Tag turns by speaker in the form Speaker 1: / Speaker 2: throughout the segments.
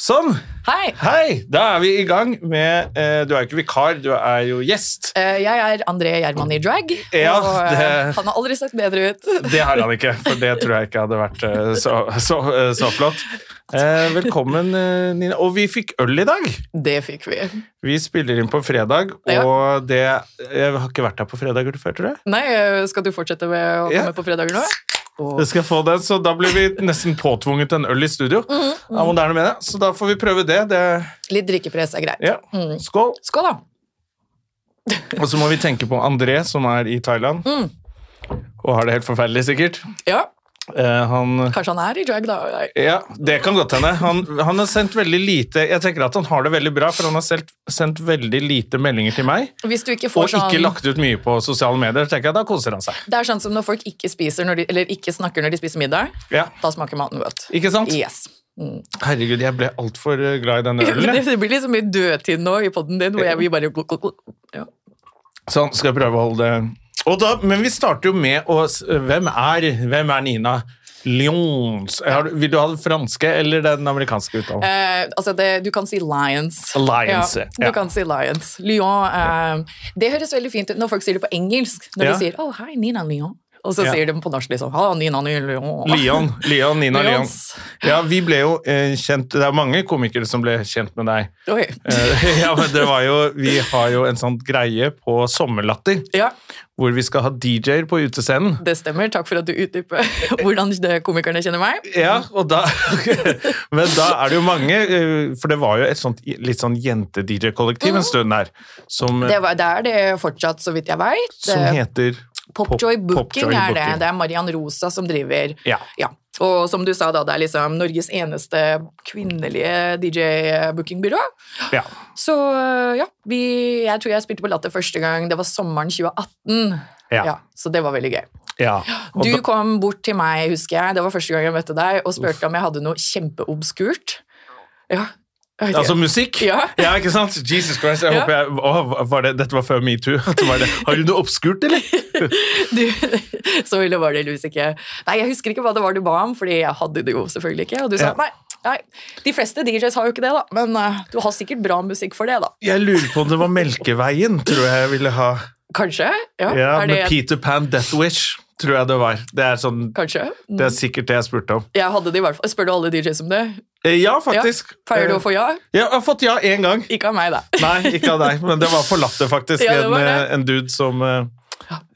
Speaker 1: Sånn!
Speaker 2: Hei!
Speaker 1: Hei! Da er vi i gang med eh, Du er jo ikke vikar, du er jo gjest.
Speaker 2: Eh, Jeg er André Gjerman i drag,
Speaker 1: Ja,
Speaker 2: og eh,
Speaker 1: det-
Speaker 2: han har aldri sett bedre ut.
Speaker 1: Det har han ikke, for det tror jeg ikke hadde vært eh, så, så, eh, så flott. Eh, velkommen, eh, Nina. Og vi fikk øl i dag!
Speaker 2: Det fikk vi.
Speaker 1: Vi spiller inn på fredag,
Speaker 2: Ja.
Speaker 1: og det Jeg har ikke vært her på fredager før, tror jeg.
Speaker 2: Nei, eh, skal du fortsette med å
Speaker 1: Ja.
Speaker 2: komme på fredager nå?
Speaker 1: Jeg skal få den, så da blir vi nesten påtvunget en øl i studio. Av moderne media. Så da får vi prøve det. det
Speaker 2: Litt drikkepress er greit.
Speaker 1: ja. Skål!
Speaker 2: Skål, da!
Speaker 1: Og så må vi tenke på André, som er i Thailand. Og har det helt forferdelig, sikkert.
Speaker 2: Ja,
Speaker 1: Eh, han
Speaker 2: kanskje han er i drag, da. Nei.
Speaker 1: Ja, det kan godt hende. Han, han har sendt veldig lite Jeg tenker at han har det veldig bra, for han har sendt, sendt veldig lite meldinger til meg.
Speaker 2: Hvis du ikke
Speaker 1: Og
Speaker 2: får sånn
Speaker 1: ikke lagt ut mye på sosiale medier. tenker jeg, Da koser han seg.
Speaker 2: Det er sånn som når folk ikke spiser når de, eller ikke snakker når de spiser middag.
Speaker 1: Ja,
Speaker 2: Da smaker maten godt.
Speaker 1: Ikke sant?
Speaker 2: Yes.
Speaker 1: Herregud, jeg ble altfor glad i denne ølen. jeg.
Speaker 2: Det blir liksom mye dødtid nå i poden din, hvor jeg blir bare ja.
Speaker 1: Sånn, skal jeg prøve å holde det og da, Men vi starter jo med å s- eh, Hvem er, hvem er Nina Lyons? Har du- Vil du ha den franske eller den amerikanske uttalen?
Speaker 2: Eh, altså det, du kan si Lions.
Speaker 1: Lions,
Speaker 2: ja.
Speaker 1: ja.
Speaker 2: Du kan si Lions. Lyon eh, Det høres veldig fint ut når folk sier det på engelsk. Når
Speaker 1: Ja.
Speaker 2: de sier oh, 'Hei, Nina Lyon', og så
Speaker 1: Ja.
Speaker 2: sier de på norsk liksom «Ha, Nina Lyon'.
Speaker 1: Leon, Leon, Nina Leon.
Speaker 2: Lyons.
Speaker 1: Ja, vi ble jo eh, kjent Det er mange komikere som ble kjent med deg.
Speaker 2: Oi.
Speaker 1: Eh, ja, men det var jo, vi har jo en sånn greie på Sommerlatter,
Speaker 2: Ja,
Speaker 1: hvor vi skal ha DJ-er på utescenen.
Speaker 2: det stemmer. Takk for at du utdyper hvordan det- komikerne kjenner meg.
Speaker 1: Ja, og da, men da er det jo mange, eh, for det var jo et sånt, litt sånn jente-DJ-kollektiv en stund der, som,
Speaker 2: Det, var, det er det fortsatt, så vidt jeg
Speaker 1: som
Speaker 2: veit.
Speaker 1: heter
Speaker 2: Popjoy
Speaker 1: Pop-
Speaker 2: Booking
Speaker 1: Popjoy
Speaker 2: er det.
Speaker 1: Booking.
Speaker 2: Det er Marian Rosa som driver.
Speaker 1: Ja.
Speaker 2: Og som du sa, da, det er liksom Norges eneste kvinnelige DJ-bookingbyrå.
Speaker 1: Ja.
Speaker 2: Så øh, ja, vi, jeg tror jeg spilte på Latter første gang, det var sommeren 2018.
Speaker 1: Ja.
Speaker 2: så det var veldig gøy.
Speaker 1: ja. Og
Speaker 2: Du
Speaker 1: da,
Speaker 2: kom bort til meg, husker jeg, det var første gang jeg møtte deg, og spurte om jeg hadde noe kjempeobskurt. Ja. jeg vet
Speaker 1: altså
Speaker 2: ikke.
Speaker 1: musikk?
Speaker 2: Ja.
Speaker 1: ikke sant? Jesus Christ, jeg
Speaker 2: Ja.
Speaker 1: håper jeg... Å, var det, dette var før MeToo. at det var det. Har du noe oppskurt, eller?
Speaker 2: du, så ille var det heldigvis ikke. Nei, jeg husker ikke hva det var du ba om, fordi jeg hadde det jo selvfølgelig ikke. Og du sa
Speaker 1: Ja.
Speaker 2: nei. Nei, De fleste DJs har jo ikke det, da, men øh, du har sikkert bra musikk for det, da.
Speaker 1: Jeg lurer på om det var Melkeveien, tror jeg jeg ville ha.
Speaker 2: Kanskje? Ja,
Speaker 1: Ja,
Speaker 2: er
Speaker 1: med
Speaker 2: det,
Speaker 1: Peter Pan Death Wish, tror jeg det var. Det er, sånn,
Speaker 2: kanskje?
Speaker 1: det er sikkert det jeg spurte om.
Speaker 2: Jeg hadde det i hvert fall. Spør du alle DJs om det?
Speaker 1: Eh, Ja,
Speaker 2: Ja.
Speaker 1: faktisk.
Speaker 2: Pleier du å
Speaker 1: Eh,
Speaker 2: få ja?
Speaker 1: Jeg har fått ja én gang.
Speaker 2: Ikke av meg, da.
Speaker 1: Nei, ikke av deg, men det var på Latter, faktisk.
Speaker 2: Ja, det
Speaker 1: en,
Speaker 2: var det.
Speaker 1: eh, en dude som, eh,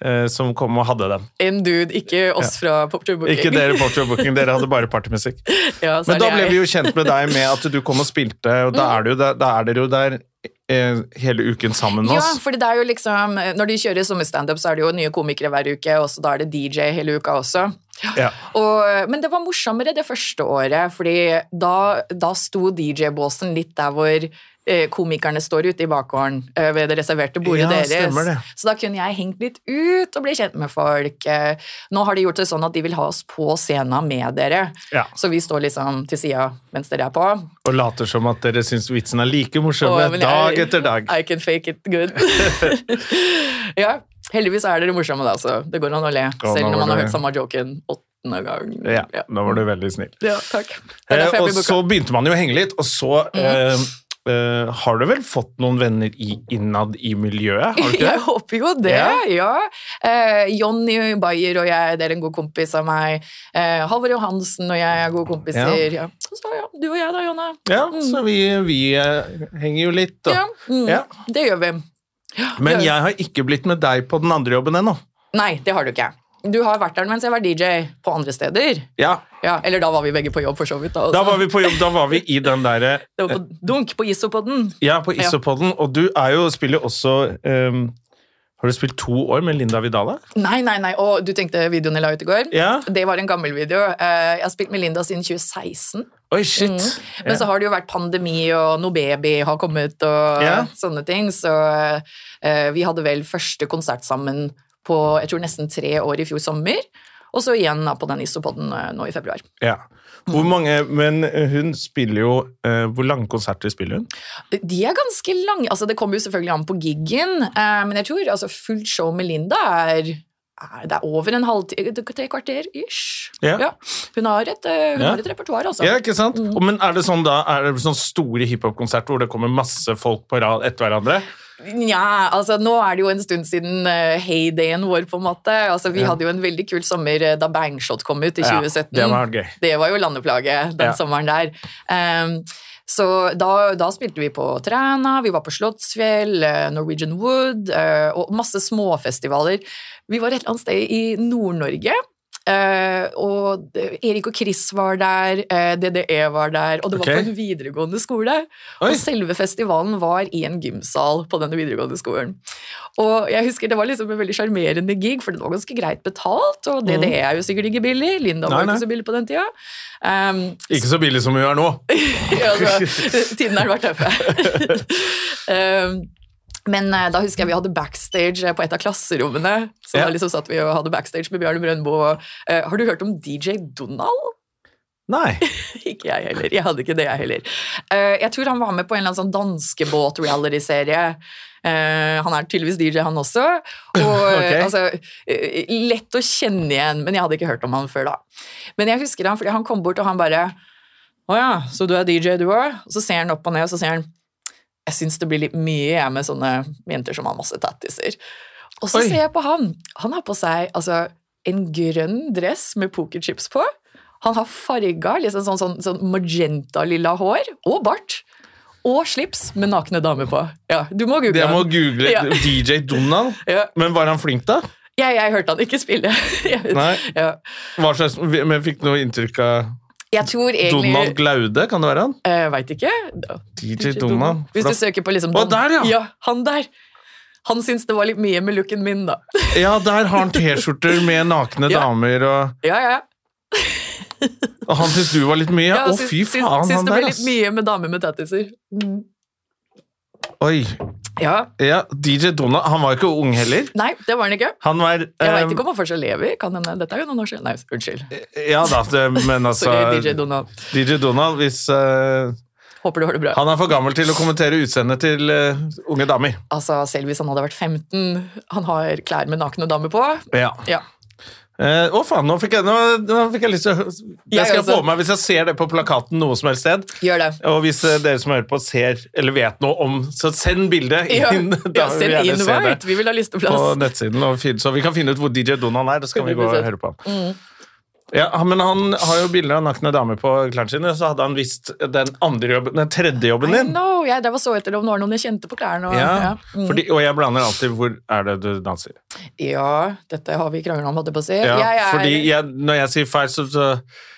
Speaker 1: eh, som kom og hadde den.
Speaker 2: En dude, ikke oss fra Popture Booking.
Speaker 1: Ikke dere på True Booking, dere hadde bare partymusikk.
Speaker 2: Ja, så
Speaker 1: Men
Speaker 2: er Mm.
Speaker 1: da
Speaker 2: det
Speaker 1: ble
Speaker 2: jeg.
Speaker 1: vi jo kjent med deg med at du kom og spilte, og da er, du, der- da er dere jo der eh, hele uken sammen med
Speaker 2: ja,
Speaker 1: oss.
Speaker 2: fordi det er jo liksom, Når de kjører sommerstandup, så er det jo nye komikere hver uke, og så da er det DJ hele uka også.
Speaker 1: Ja.
Speaker 2: Og, men det var morsommere det første året, fordi da, da sto DJ-båsen litt der hvor eh, komikerne står ute i bakgården eh, ved det reserverte bordet
Speaker 1: Ja,
Speaker 2: deres.
Speaker 1: stemmer det.
Speaker 2: Så da kunne jeg hengt litt ut og bli kjent med folk. Eh, Nå har de gjort det sånn at de vil ha oss på scenen med dere,
Speaker 1: Ja.
Speaker 2: så vi står liksom til sida mens dere er på.
Speaker 1: Og later som at dere syns vitsen er like morsom
Speaker 2: Å, men jeg-
Speaker 1: dag etter dag.
Speaker 2: I can fake it good. ja, heldigvis er dere morsomme, da, så det går an å le.
Speaker 1: nå
Speaker 2: selv når
Speaker 1: var
Speaker 2: man har
Speaker 1: det-
Speaker 2: hørt samme joken åttende gang.
Speaker 1: Ja, da var du veldig snill.
Speaker 2: Ja, takk. Det er
Speaker 1: Eh,
Speaker 2: derfor jeg
Speaker 1: og
Speaker 2: blir booka.
Speaker 1: så begynte man jo å henge litt, og så eh, eh, har du vel fått noen venner i, innad i miljøet? Har du ikke
Speaker 2: Jeg
Speaker 1: det?
Speaker 2: håper jo det,
Speaker 1: Ja.
Speaker 2: ja. Eh, Jonny Bayer og jeg, det er en god kompis av meg. Eh, Halvor Johansen og jeg er gode kompiser. Ja. Så ja, du og jeg da, Jonna.
Speaker 1: Ja, så vi, vi eh, henger jo litt. Da.
Speaker 2: Mm. Ja, mm,
Speaker 1: Ja.
Speaker 2: det gjør vi.
Speaker 1: Men
Speaker 2: det-
Speaker 1: jeg har ikke blitt med deg på den andre jobben ennå.
Speaker 2: Nei, det har du ikke. Du har vært der mens jeg var DJ på andre steder.
Speaker 1: Ja,
Speaker 2: Ja, eller da var vi begge på jobb, for så vidt. Da,
Speaker 1: da
Speaker 2: også.
Speaker 1: var vi på jobb, da var vi i den derre
Speaker 2: Det var på dunk på isopodden.
Speaker 1: Ja, på Isopodden, og du er jo, spiller jo også ehm, Har du spilt to år med Linda Vidala?
Speaker 2: Nei, nei, nei. Og du tenkte videoen jeg la ut i går?
Speaker 1: Ja.
Speaker 2: Det var en gammel video. Eh, Jeg har spilt med Linda siden 2016.
Speaker 1: Å Oi, shit.
Speaker 2: Men så har det jo vært pandemi, og noe baby har kommet, og
Speaker 1: Ja.
Speaker 2: sånne ting. Så eh, vi hadde vel første konsert sammen på jeg tror nesten tre år i fjor sommer. Og så igjen da, på den isopodden eh, nå i februar.
Speaker 1: Ja. Hvor mange Men hun spiller jo eh, Hvor lange konserter spiller hun?
Speaker 2: De er ganske lange. Altså, det kommer jo selvfølgelig an på giggen, eh, men jeg tror altså, fullt show med Linda er, er det er over en halvtime, tre kvarter ish.
Speaker 1: Ja.
Speaker 2: Hun har et, eh, hun
Speaker 1: Ja.
Speaker 2: har et repertoar, altså.
Speaker 1: Ja, ikke sant? Og, men er det sånn da Er det sånn store hiphop-konserter hvor det kommer masse folk på rad etter hverandre?
Speaker 2: Nja, altså nå er det jo en stund siden eh, heydayen vår, på en måte. Altså Vi hadde jo en veldig kul sommer eh, da Bangshot kom ut i
Speaker 1: Ja,
Speaker 2: 2017.
Speaker 1: det var gøy.
Speaker 2: Det var jo landeplaget den
Speaker 1: Ja.
Speaker 2: sommeren der. Ehm, så da, da spilte vi på Træna, vi var på Slottsfjell, eh, Norwegian Wood eh, og masse småfestivaler. Vi var et eller annet sted i Nord-Norge. eh, og det- Erik og Chris var der, eh, DDE var der, og det var
Speaker 1: Ok.
Speaker 2: på en videregående skole.
Speaker 1: Oi.
Speaker 2: Og selve festivalen var i en gymsal på denne videregående skolen. Og jeg husker Det var liksom en veldig sjarmerende gig, for det var ganske greit betalt. Og DDE er jo sikkert ikke billig. Linda
Speaker 1: Mm. Nei,
Speaker 2: var
Speaker 1: nei.
Speaker 2: ikke så billig på den tida. Um,
Speaker 1: Ikke så billig som hun er nå.
Speaker 2: altså, tiden har vært tøff. um, men eh, da husker jeg vi hadde backstage eh, på et av klasserommene. Så
Speaker 1: Ja.
Speaker 2: da liksom satt vi og hadde backstage med Bjarne Brøndbo. Og, eh, har du hørt om DJ Donald?
Speaker 1: Nei.
Speaker 2: Ikke jeg heller. Jeg hadde ikke det, jeg heller. Eh, jeg tror han var med på en eller annen sånn danskebåt-reality-serie. Eh, han er tydeligvis DJ, han også. Og
Speaker 1: Ok.
Speaker 2: altså, eh, Lett å kjenne igjen, men jeg hadde ikke hørt om han før da. Men jeg husker han, fordi han kom bort og han bare Å ja, så du er DJ, du òg? Og så ser han opp og ned, og så sier han Jeg syns det blir litt mye, jeg, med sånne jenter som har masse tattiser. Og så
Speaker 1: Oi.
Speaker 2: ser jeg på han. Han har på seg altså, en grønn dress med pokerchips på. Han har farga, liksom sånn, sånn, sånn magenta-lilla hår og bart. Og slips med nakne damer på. Ja, du må google
Speaker 1: Jeg må
Speaker 2: han.
Speaker 1: google
Speaker 2: Ja.
Speaker 1: DJ Donald.
Speaker 2: Ja.
Speaker 1: Men var han flink, da?
Speaker 2: Jeg, jeg hørte han ikke spille. Jeg-
Speaker 1: Nei.
Speaker 2: Ja.
Speaker 1: Hva slags, men Fikk noe inntrykk av
Speaker 2: Jeg tror egentlig
Speaker 1: Donald Glaude? Kan det være han?
Speaker 2: Eh, Veit ikke.
Speaker 1: DJ Donald.
Speaker 2: Hvis du
Speaker 1: Flott.
Speaker 2: søker på liksom
Speaker 1: Å, der, ja.
Speaker 2: Han der. Han syns det var litt mye med looken min, da.
Speaker 1: Ja, der har han T-skjorter med nakne
Speaker 2: Ja.
Speaker 1: damer, og,
Speaker 2: Ja, ja.
Speaker 1: og han syns du var litt mye.
Speaker 2: Ja,
Speaker 1: Å,
Speaker 2: syns-
Speaker 1: fy
Speaker 2: syns-
Speaker 1: faen,
Speaker 2: Syns
Speaker 1: han
Speaker 2: det ble
Speaker 1: der,
Speaker 2: litt
Speaker 1: ass.
Speaker 2: mye med damer med tattiser.
Speaker 1: Oi.
Speaker 2: Ja.
Speaker 1: Ja, DJ Donald, han var jo ikke ung heller.
Speaker 2: Nei, det var han ikke.
Speaker 1: Han var
Speaker 2: Jeg
Speaker 1: eh,
Speaker 2: veit ikke om han fortsatt lever. Kan hende. Dette er jo noen år siden. Nei, unnskyld.
Speaker 1: Ja da, det, men altså
Speaker 2: Sorry, DJ Donald.
Speaker 1: DJ Donald, hvis eh,
Speaker 2: Håper du har det bra.
Speaker 1: Han er for gammel til å kommentere utseendet til eh, unge damer.
Speaker 2: Altså, Selv hvis han hadde vært 15 Han har klær med nakne damer på.
Speaker 1: Ja.
Speaker 2: Ja.
Speaker 1: Eh, å faen, nå fikk, jeg, nå, nå fikk jeg lyst til å Det
Speaker 2: Jeg
Speaker 1: skal jeg få
Speaker 2: også.
Speaker 1: med meg hvis jeg ser det på plakaten noe som helst sted.
Speaker 2: Gjør det.
Speaker 1: Og hvis eh, dere som hører på ser eller vet noe om, så send bildet
Speaker 2: Ja,
Speaker 1: inn.
Speaker 2: ja,
Speaker 1: Da vil vi
Speaker 2: send
Speaker 1: gjerne se
Speaker 2: invite.
Speaker 1: det
Speaker 2: Vi vil ha
Speaker 1: på
Speaker 2: listeplass.
Speaker 1: nettsiden, og fin- så vi kan finne ut hvor DJ Donald er. Da skal vi gå og
Speaker 2: 100%.
Speaker 1: høre på han.
Speaker 2: Mm.
Speaker 1: Ja, han- men han har jo bilder av nakne damer på klærne sine, så hadde han visst den andre jobben, den tredje jobben din.
Speaker 2: No, jeg drev og så etter om det var noen jeg kjente på klærne. Og, ja. Mm.
Speaker 1: Ja, fordi, og jeg blander alltid hvor er det du danser.
Speaker 2: Ja, dette har vi krangla om, holdt jeg på å si.
Speaker 1: Ja,
Speaker 2: Jeg er-
Speaker 1: fordi jeg, når jeg sier feil, så, så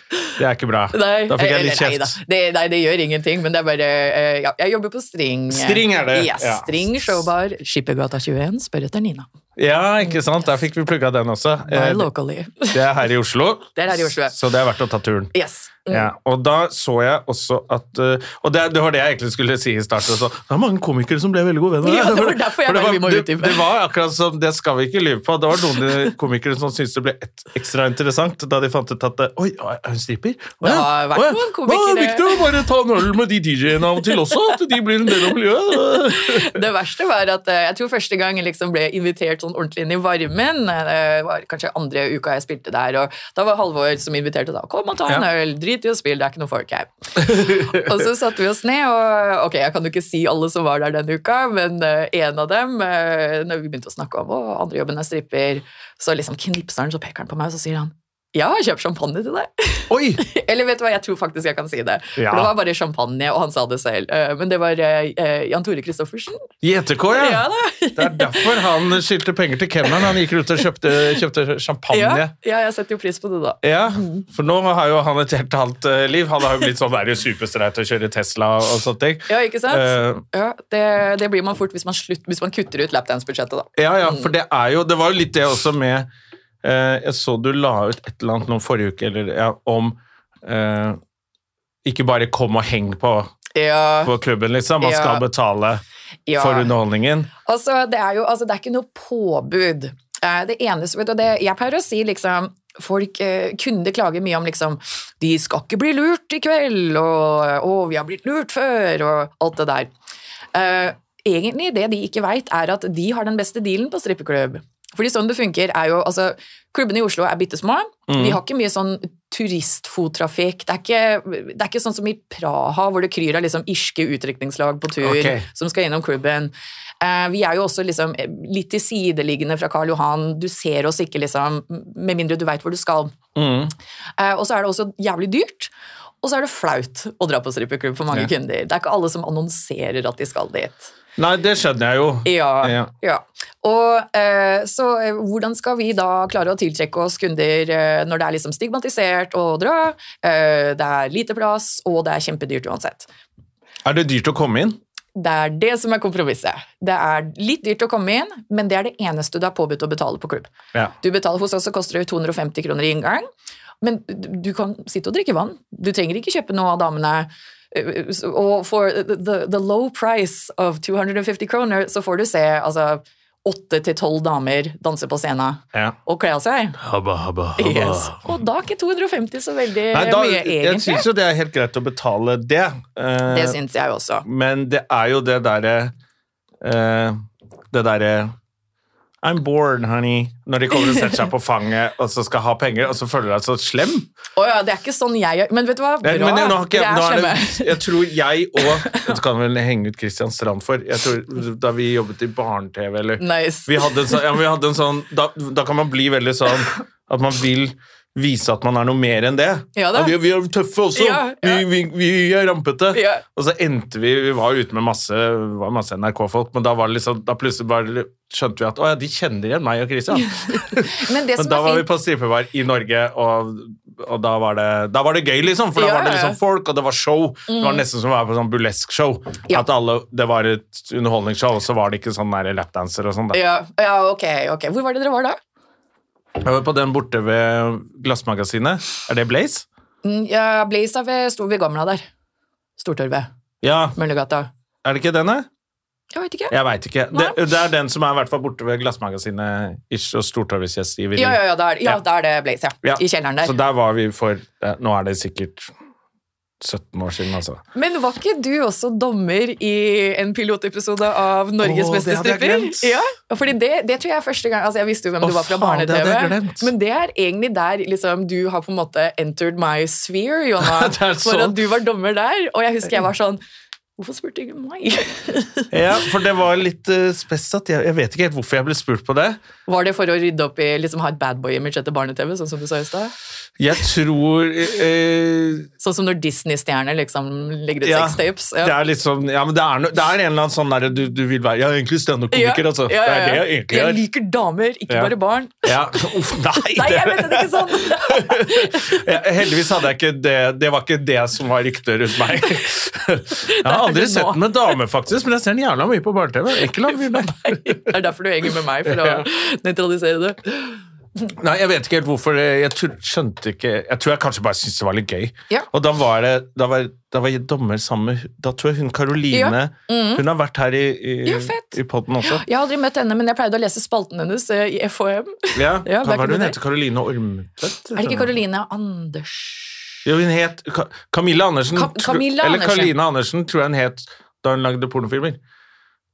Speaker 1: Det er ikke bra.
Speaker 2: Nei,
Speaker 1: da fikk jeg
Speaker 2: eller-
Speaker 1: litt
Speaker 2: nei da.
Speaker 1: kjeft.
Speaker 2: Det, nei, det gjør ingenting, men det er bare eh, ja, Jeg jobber på String. eh.
Speaker 1: String er det,
Speaker 2: Yes,
Speaker 1: ja.
Speaker 2: String showbar, Skippergata 21. Spør etter Nina.
Speaker 1: Ja, ikke sant? Der fikk vi plugga den også.
Speaker 2: Buy
Speaker 1: Eh,
Speaker 2: locally.
Speaker 1: Det er her i Oslo,
Speaker 2: Det er her i Oslo.
Speaker 1: så det er verdt å ta turen.
Speaker 2: Yes.
Speaker 1: Ja, og da så jeg også at eh, Og det, det var det jeg egentlig skulle si i starten. også. det er mange komikere som ble veldig gode venner.
Speaker 2: Ja, det var derfor jeg
Speaker 1: For det,
Speaker 2: bare, vi må
Speaker 1: var, det,
Speaker 2: utdype.
Speaker 1: det var akkurat som Det skal vi ikke lyve på. Det var noen komikere som syntes det ble et, ekstra interessant da de fant ut at eh, Oi, er hun stripper? Å
Speaker 2: Det
Speaker 1: ja,
Speaker 2: har vært
Speaker 1: å ja.
Speaker 2: noen
Speaker 1: Å,
Speaker 2: komikere.
Speaker 1: Det er viktig å bare ta en øl med de DJ-ene av og til også, at de blir en del av miljøet.
Speaker 2: Det verste var at eh, jeg tror første gang jeg liksom ble invitert sånn ordentlig inn i varmen, eh, var kanskje andre uka jeg spilte der, og da var Halvor som inviterte da. Kom og ta en
Speaker 1: Ja.
Speaker 2: øl, drit i å spille, det er ikke noen folk her. og så satte vi oss ned, og ok, jeg kan jo ikke si alle som var der denne uka, men eh, en av dem, eh, når vi begynte å snakke om, å, andre jobben er stripper, så liksom knipser han, så peker han på meg, og så sier han, jeg har kjøpt champagne til deg.
Speaker 1: Oi!
Speaker 2: Eller vet du hva, jeg tror faktisk jeg kan si det.
Speaker 1: Ja.
Speaker 2: For det var bare champagne, og han sa det selv. Eh, Men det var eh, eh, Jan Tore Kristoffersen.
Speaker 1: JTK, ja.
Speaker 2: Ja da.
Speaker 1: Det er derfor han skyldte penger til kemneren. Han gikk ut og kjøpte, kjøpte champagne.
Speaker 2: Ja, ja, jeg setter jo pris på det, da.
Speaker 1: Ja, for nå har jo han et helt annet eh, liv. Han har jo blitt sånn der superstreit og kjører Tesla og sånne ting.
Speaker 2: Ja, ikke sant?
Speaker 1: Eh,
Speaker 2: ja, det, det blir man fort hvis man, slutt, hvis man kutter ut lapdance-budsjettet, da.
Speaker 1: ja, ja, for det er jo Det var jo litt det også med eh, Jeg så du la ut et eller annet nå forrige uke eller, ja, om eh, Ikke bare kom og heng på,
Speaker 2: Ja,
Speaker 1: på klubben, liksom. Man skal
Speaker 2: Ja.
Speaker 1: betale
Speaker 2: ja.
Speaker 1: for underholdningen.
Speaker 2: Altså, det er jo altså, det er ikke noe påbud. Eh, Det eneste, vet du, det, jeg pleier å si liksom Folk, eh, Kunder klager mye om liksom, de skal ikke bli lurt i kveld, og, og vi har blitt lurt før, og alt det der. Eh, egentlig det de ikke veit, er at de har den beste dealen på strippeklubb. Fordi sånn det funker er jo, altså, Klubbene i Oslo er bitte små. Vi har ikke mye sånn turistfottrafikk. Det er, ikke, det er ikke sånn som i Praha, hvor det kryr av liksom irske utdrikningslag på tur
Speaker 1: Ok.
Speaker 2: som skal innom klubben. Eh, vi er jo også liksom eh, litt tilsideliggende fra Karl Johan. Du ser oss ikke, liksom, med mindre du veit hvor du skal.
Speaker 1: Mm.
Speaker 2: Eh, og så er det også jævlig dyrt. Og så er det flaut å dra på strippeklubb for mange
Speaker 1: Ja.
Speaker 2: kunder. Det er ikke alle som annonserer at de skal dit.
Speaker 1: Nei, det skjønner jeg jo.
Speaker 2: Ja.
Speaker 1: Ja.
Speaker 2: ja. Og eh, Så eh, hvordan skal vi da klare å tiltrekke oss kunder eh, når det er liksom stigmatisert å dra, eh, det er lite plass, og det er kjempedyrt uansett?
Speaker 1: Er det dyrt å komme inn?
Speaker 2: Det er det som er kompromisset. Det er litt dyrt å komme inn, men det er det eneste du er påbudt å betale på klubb.
Speaker 1: Ja.
Speaker 2: Du betaler Hos oss så koster det jo 250 kroner i inngang, men du du kan sitte og drikke vann. Du trenger ikke kjøpe noe av damene. Eh, så- Og for the, the, the low price of 250 kroner, så får du se altså, åtte til tolv damer danse på scenen
Speaker 1: Ja.
Speaker 2: og kle av seg.
Speaker 1: Habba, habba, habba.
Speaker 2: Yes. Og da er ikke 250 så veldig
Speaker 1: Nei, da,
Speaker 2: mye,
Speaker 1: jeg
Speaker 2: egentlig.
Speaker 1: syns jo det er helt greit å betale det. Eh,
Speaker 2: Det syns jeg også.
Speaker 1: Men det er jo det derre eh, Det derre I'm bored, honey. Når de kommer og setter seg på fanget og så skal ha penger, og så føler du deg så slem.
Speaker 2: Å ja, det er ikke sånn jeg Men vet du hva? Bra.
Speaker 1: Nei, men nå har ikke, jeg-
Speaker 2: Dere er
Speaker 1: nå er
Speaker 2: slemme.
Speaker 1: det, jeg tror jeg og Dette kan vel henge ut Christian Strand for. Jeg tror, da vi jobbet i barne-TV, eller
Speaker 2: Nice.
Speaker 1: vi hadde en sånn, ja, men vi hadde en sånn da, da kan man bli veldig sånn at man vil vise at man er noe mer enn det.
Speaker 2: Ja da.
Speaker 1: vi, vi er tøffe også.
Speaker 2: Ja, ja.
Speaker 1: Vi, vi, vi er rampete.
Speaker 2: Ja.
Speaker 1: Og så endte vi Vi var jo ute med masse, det var masse NRK-folk, men da, var det liksom, da plutselig bare skjønte vi at å ja, de kjenner igjen meg og Christian.
Speaker 2: Men
Speaker 1: Men
Speaker 2: det som
Speaker 1: da
Speaker 2: er
Speaker 1: var vi
Speaker 2: fint
Speaker 1: på strippebar i Norge, og, og da, var det, da var det gøy, liksom. For da
Speaker 2: Ja,
Speaker 1: var det
Speaker 2: ja, ja.
Speaker 1: liksom folk, og det var show. Det var nesten som å være på sånn burlesk-show.
Speaker 2: Ja.
Speaker 1: At alle, det var et underholdningsshow, og så var det ikke sånn der lapdanser og sånn. da.
Speaker 2: ja, ja, ok, ok. Hvor var det dere var da?
Speaker 1: Jeg var på den borte ved Glassmagasinet. Er det Blaze?
Speaker 2: Mm, Ja, Blaze er ved, sto ved gamla der. Stortorvet.
Speaker 1: Ja,
Speaker 2: Møllergata.
Speaker 1: er det ikke den, da?
Speaker 2: Jeg vet ikke. Ja,
Speaker 1: Jeg veit ikke. Det, det er den som er i hvert fall borte ved Glassmagasinet ish, og Stortorvetsgjestgiveri.
Speaker 2: ja, ja, da er, ja,
Speaker 1: Ja.
Speaker 2: da er det Blaze, ja.
Speaker 1: Ja.
Speaker 2: I kjelleren
Speaker 1: Så
Speaker 2: der.
Speaker 1: der var vi for ja, Nå er det sikkert 17 år siden, altså.
Speaker 2: Men var ikke du også dommer i en pilotepisode av Norges
Speaker 1: Åh,
Speaker 2: beste
Speaker 1: det hadde jeg
Speaker 2: stripper?
Speaker 1: glemt.
Speaker 2: Ja, fordi det, det tror jeg er første gang Altså, jeg visste jo hvem
Speaker 1: Åh,
Speaker 2: du var fra
Speaker 1: faen, det hadde
Speaker 2: barne-TV.
Speaker 1: jeg glemt.
Speaker 2: Men det er egentlig der liksom, du har på en måte entered my sphere, Jonna.
Speaker 1: Det er
Speaker 2: For
Speaker 1: sånn.
Speaker 2: at du var dommer der. Og jeg husker jeg var sånn Hvorfor spurte ikke meg?
Speaker 1: Ja, for det var litt uh, spess at jeg, jeg vet ikke helt hvorfor jeg ble spurt på det.
Speaker 2: Var det for å rydde opp i liksom ha et badboy-image etter barne-TV, sånn som du sa i stad?
Speaker 1: Jeg tror eh,
Speaker 2: Sånn som når Disney-stjerner liksom legger ut
Speaker 1: Ja,
Speaker 2: sextapes?
Speaker 1: Det er liksom Ja, men det er, no, det er en eller annen sånn derre du, du vil være Jeg er egentlig standup-komiker, altså.
Speaker 2: Ja, ja,
Speaker 1: Det er
Speaker 2: ja.
Speaker 1: det jeg egentlig
Speaker 2: Jeg
Speaker 1: er.
Speaker 2: liker damer, ikke
Speaker 1: Ja.
Speaker 2: bare barn.
Speaker 1: Ja. Uff, nei,
Speaker 2: Nei, jeg
Speaker 1: det-
Speaker 2: mente det ikke sånn!
Speaker 1: Ja, Heldigvis hadde jeg ikke det Det var ikke det som var ryktet rundt meg. Jeg har
Speaker 2: Det er
Speaker 1: aldri
Speaker 2: det
Speaker 1: sett
Speaker 2: nå.
Speaker 1: den med dame, faktisk, men jeg ser den jævla mye på barne-TV. Ikke la meg begynne.
Speaker 2: Det er derfor du henger med meg, for å nøytralisere det.
Speaker 1: Nei, jeg vet ikke helt hvorfor. det- Jeg tror, skjønte ikke Jeg tror jeg kanskje bare syntes det var litt gøy.
Speaker 2: Ja.
Speaker 1: Og da var det Da var, da var jeg dommer sammen med Da tror jeg hun Karoline Hun har vært her i, i,
Speaker 2: Mm. Ja, fett.
Speaker 1: i podden også.
Speaker 2: Jeg har aldri møtt henne, men jeg pleide å lese spalten hennes eh, i FHM.
Speaker 1: Ja,
Speaker 2: Ja,
Speaker 1: Hva
Speaker 2: back
Speaker 1: var
Speaker 2: in
Speaker 1: det hun
Speaker 2: the
Speaker 1: heter? Karoline Ormtvedt?
Speaker 2: Er det ikke Karoline Anders
Speaker 1: Jo, hun het Ka Camilla Andersen.
Speaker 2: Ka-
Speaker 1: tro-
Speaker 2: Camilla
Speaker 1: eller
Speaker 2: Andersen.
Speaker 1: Karoline Andersen tror jeg hun het da hun lagde pornofilmer.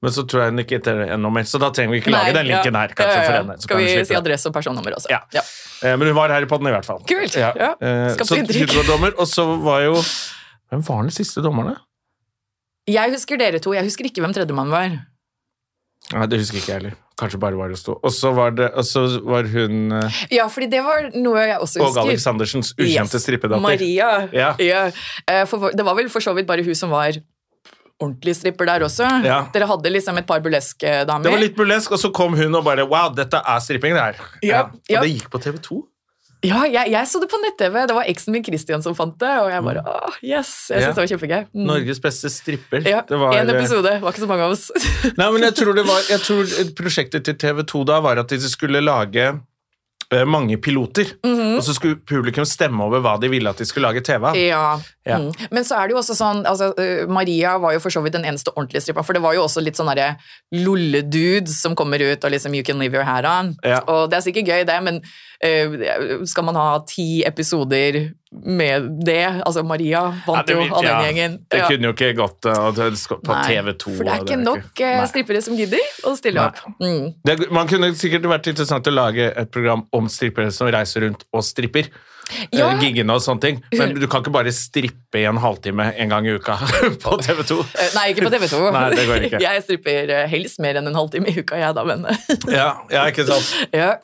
Speaker 1: Men så tror jeg hun ikke heter det ennå mer, så da trenger vi ikke lage
Speaker 2: Nei,
Speaker 1: den linken
Speaker 2: ja.
Speaker 1: her. kanskje
Speaker 2: Ja, ja, ja.
Speaker 1: for henne. Så
Speaker 2: Skal
Speaker 1: kan
Speaker 2: vi
Speaker 1: slippe
Speaker 2: si
Speaker 1: det.
Speaker 2: adresse og personnummer også?
Speaker 1: Ja. Eh, Men hun var her i podden i hvert fall.
Speaker 2: Kult, ja.
Speaker 1: Eh,
Speaker 2: Skapte
Speaker 1: Så
Speaker 2: inntrykk.
Speaker 1: Hydro var dommer, og så var jo Hvem var den siste dommeren, da?
Speaker 2: Jeg husker dere to. Jeg husker ikke hvem tredjemann var.
Speaker 1: Nei, Det husker ikke jeg heller. Kanskje bare var det stå. Og så var, det- og så var hun eh,
Speaker 2: Ja, fordi det var noe jeg også
Speaker 1: Åge
Speaker 2: husker.
Speaker 1: Aleksandersens ukjente
Speaker 2: Yes.
Speaker 1: strippedatter.
Speaker 2: Maria.
Speaker 1: Ja.
Speaker 2: Eh, For, det var vel for så vidt bare hun som var ordentlig stripper der også.
Speaker 1: Ja.
Speaker 2: Dere hadde liksom et par burleske damer.
Speaker 1: Det var litt burlesk, og så kom hun og bare Wow, dette er stripping, det her.
Speaker 2: Ja, ja.
Speaker 1: Og det gikk på TV2.
Speaker 2: Ja, jeg, jeg så det på nett-TV. Det var eksen min Christian som fant det, og jeg bare åh, yes! Jeg
Speaker 1: Ja.
Speaker 2: synes det var kjempegøy. Mm.
Speaker 1: Norges beste stripper.
Speaker 2: Ja,
Speaker 1: Det var, eh,
Speaker 2: en episode. Var ikke så mange av oss.
Speaker 1: Nei, men jeg tror, det var, jeg tror eh, prosjektet til TV 2 da var at de skulle lage
Speaker 2: Mhm.
Speaker 1: eh, mange piloter, og så skulle publikum stemme over hva de ville at de skulle lage TV av.
Speaker 2: ja.
Speaker 1: Ja.
Speaker 2: Mm. Men så er det jo også sånn altså, eh, Maria var jo for så vidt den eneste ordentlige strippa, for det var jo også litt sånn derre lolledudes som kommer ut og liksom You can leave your hair on.
Speaker 1: Ja.
Speaker 2: Og det er sikkert gøy, det, men eh, skal man ha ti episoder med det? Altså, Maria
Speaker 1: Ja,
Speaker 2: vant
Speaker 1: det
Speaker 2: jo
Speaker 1: vil-
Speaker 2: av den
Speaker 1: ja,
Speaker 2: gjengen.
Speaker 1: Det
Speaker 2: Ja.
Speaker 1: kunne jo ikke gått eh, at det skal- på
Speaker 2: Nei,
Speaker 1: TV 2.
Speaker 2: For det er ikke nok eh, strippere som gidder å stille
Speaker 1: Nei.
Speaker 2: opp. Mm.
Speaker 1: Det, man kunne sikkert vært interessant å lage et program om strippere som reiser rundt og stripper.
Speaker 2: Ja.
Speaker 1: Eh, Giggene og sånne ting. Men du kan ikke bare strippe i en halvtime en gang i uka på TV 2.
Speaker 2: Eh, Nei, ikke på TV 2.
Speaker 1: Nei, det går ikke.
Speaker 2: Jeg stripper eh, helst mer enn en halvtime i uka, jeg da, men
Speaker 1: Ja, ja, ikke sant?
Speaker 2: ja.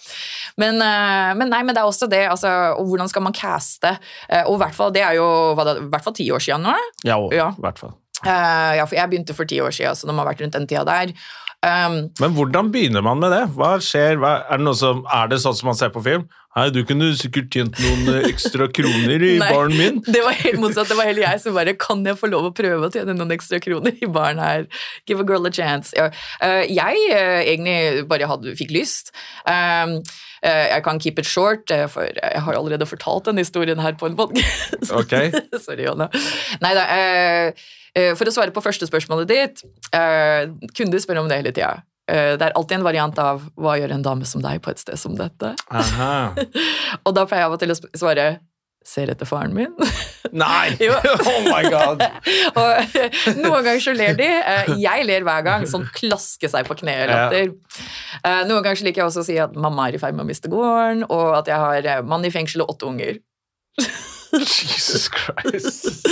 Speaker 2: men, eh, men nei, men det er også det, altså, og hvordan skal man caste? Eh, Og i hvert fall, det er jo hva da, i hvert fall ti år siden nå.
Speaker 1: Ja, og,
Speaker 2: Ja.
Speaker 1: i hvert fall.
Speaker 2: Eh, Ja, for jeg begynte for ti år siden, så det må ha vært rundt den tida der. Um,
Speaker 1: Men hvordan begynner man med det? Hva skjer? Hva, er, det noe som, er det sånn som man ser på film? Hei, du kunne sikkert tjent noen eh, ekstra kroner i
Speaker 2: Nei,
Speaker 1: baren min.
Speaker 2: Det var helt motsatt. Det var heller jeg som bare Kan jeg få lov å prøve å tjene noen ekstra kroner i baren her? Give a girl a chance. Ja. Eh, Jeg eh, egentlig bare hadde, fikk lyst. Um, eh, jeg kan keep it short, eh, for jeg har allerede fortalt den historien her på en podkast.
Speaker 1: Ok.
Speaker 2: Sorry, Jonna. Nei da. eh, eh, for å svare på første spørsmålet ditt eh, Kunder spør om det hele tida. Eh, det er alltid en variant av 'Hva gjør en dame som deg på et sted som dette?'
Speaker 1: Aha.
Speaker 2: Og da pleier jeg av og til å sp- svare 'Ser etter faren min'.
Speaker 1: Nei!
Speaker 2: Jo.
Speaker 1: Oh my god!
Speaker 2: Og noen ganger så ler de. Eh, Jeg ler hver gang. Sånn klaske seg på kne-latter. Eh, Noen ganger så liker jeg også å si at mamma er i ferd med å miste gården, og at jeg har eh, mann i fengsel og åtte unger.
Speaker 1: Jesus Christ.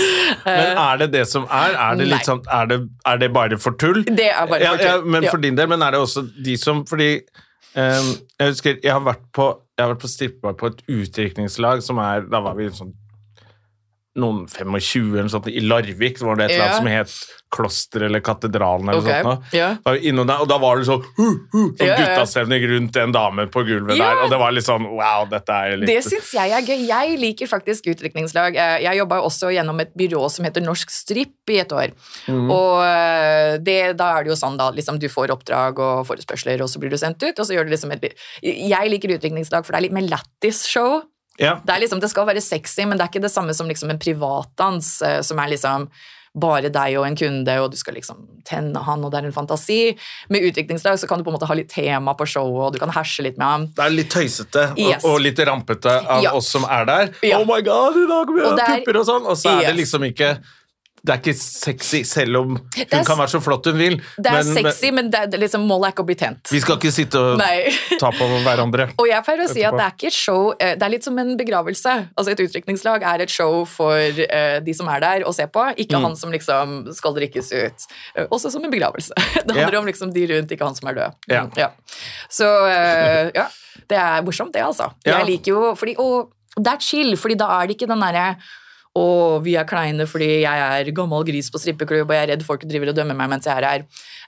Speaker 1: Men er det det som er? Er det, litt sånn, er det, er det bare for tull?
Speaker 2: Det er bare for tull,
Speaker 1: Ja, ja, men
Speaker 2: ja.
Speaker 1: for din del, men er det også de som Fordi eh, jeg husker jeg har vært på, jeg har vært på strippebar på et utdrikningslag som er Da var vi sånn noen 25 eller noe sånt, i Larvik var det et eller
Speaker 2: Ja.
Speaker 1: annet som het Kloster eller Katedralen eller
Speaker 2: Ok,
Speaker 1: noe sånt. nå.
Speaker 2: ja.
Speaker 1: Da var vi innom der, og da var det sånn, hu, hu, sånn
Speaker 2: Ja, ja.
Speaker 1: guttastemning rundt en dame på gulvet
Speaker 2: Ja.
Speaker 1: der, og det var litt sånn wow, dette er litt
Speaker 2: Det syns jeg er gøy. Jeg liker faktisk utdrikningslag. Eh, Jeg jobba også gjennom et byrå som heter Norsk Stripp i et år. Og eh, det, da er det jo sånn, da. Liksom, du får oppdrag og forespørsler, og så blir du sendt ut. Og så gjør du liksom et Jeg liker utdrikningslag, for det er litt mer lættis-show.
Speaker 1: Ja.
Speaker 2: Det, er liksom, det skal være sexy, men det er ikke det samme som liksom en privatdans, eh, som er liksom bare deg og en kunde, og du skal liksom tenne han, og det er en fantasi. Med utdrikningslag så kan du på en måte ha litt tema på showet, og du kan herse litt med ham.
Speaker 1: Det er litt tøysete og,
Speaker 2: Yes.
Speaker 1: og litt rampete av
Speaker 2: Ja.
Speaker 1: oss som er der.
Speaker 2: Ja.
Speaker 1: Oh my god, i dag blir
Speaker 2: Og
Speaker 1: det
Speaker 2: det er-
Speaker 1: pupper og sånn! Og så er det
Speaker 2: Yes.
Speaker 1: liksom ikke Det er ikke sexy, selv om hun
Speaker 2: er s-
Speaker 1: kan være så flott hun vil.
Speaker 2: Det er
Speaker 1: men-
Speaker 2: sexy, men det, er- det, er liksom, målet er ikke å bli tent.
Speaker 1: Vi skal ikke sitte og
Speaker 2: Nei.
Speaker 1: ta på hverandre.
Speaker 2: Og jeg pleier å si at
Speaker 1: Etterpå.
Speaker 2: det er ikke et show, eh, det er litt som en begravelse. Altså Et utdrikningslag er et show for eh, de som er der og ser på,
Speaker 1: Mm.
Speaker 2: ikke han som liksom skal drikkes ut. Eh, Også som en begravelse. Det handler
Speaker 1: Ja.
Speaker 2: om liksom de rundt, ikke han som er død.
Speaker 1: Ja.
Speaker 2: Mm, Så eh, ja, det er morsomt det, altså.
Speaker 1: Ja.
Speaker 2: Jeg liker jo, fordi, og det er chill, fordi da er det ikke den derre å, vi er kleine fordi jeg er gammel gris på strippeklubb, og jeg er redd folk driver og dømmer meg mens jeg er her.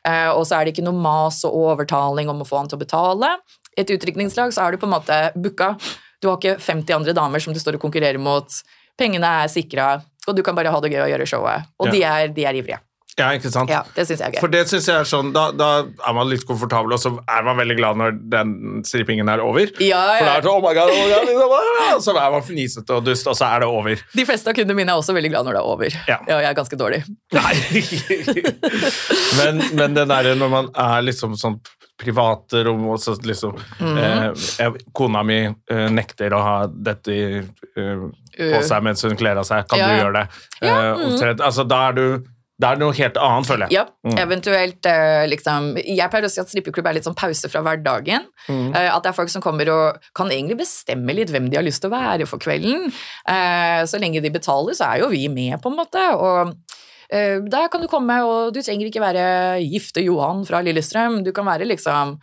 Speaker 2: Eh, og så er det ikke noe mas og overtaling om å få han til å betale. Et utdrikningslag så er du på en måte booka. Du har ikke 50 andre damer som du står og konkurrerer mot. Pengene er sikra, og du kan bare ha det gøy og gjøre showet. Og
Speaker 1: Ja.
Speaker 2: de, er, de er ivrige.
Speaker 1: Ja, ikke sant?
Speaker 2: Ja, det syns jeg er gøy.
Speaker 1: For det synes jeg er sånn, da, da er man litt komfortabel, og så er man veldig glad når den strippingen er over.
Speaker 2: Ja, ja.
Speaker 1: For da er det sånn, oh my god, oh my god, liksom, ah, så er man fnisete og dust, og så er det over.
Speaker 2: De fleste av kundene mine er også veldig glad når det er over.
Speaker 1: Ja.
Speaker 2: jeg er ganske dårlig.
Speaker 1: Nei! men, men den derre når man er liksom sånn private rom og så liksom
Speaker 2: Mm.
Speaker 1: eh, jeg, Kona mi eh, nekter å ha dette i, eh, på
Speaker 2: Uh.
Speaker 1: seg mens hun kler av seg. Kan
Speaker 2: Ja,
Speaker 1: du
Speaker 2: ja. mm.
Speaker 1: gjøre det? Eh, omtrent. Altså, da er du Det er noe helt annet, føler jeg. Mm.
Speaker 2: Ja, eventuelt eh, liksom Jeg pleier å si at strippeklubb er litt sånn pause fra hverdagen.
Speaker 1: Mm.
Speaker 2: Eh, at det er folk som kommer og kan egentlig bestemme litt hvem de har lyst til å være for kvelden. Eh, så lenge de betaler, så er jo vi med, på en måte. Og eh, der kan du komme, og du trenger ikke være gifte Johan fra Lillestrøm. Du kan være liksom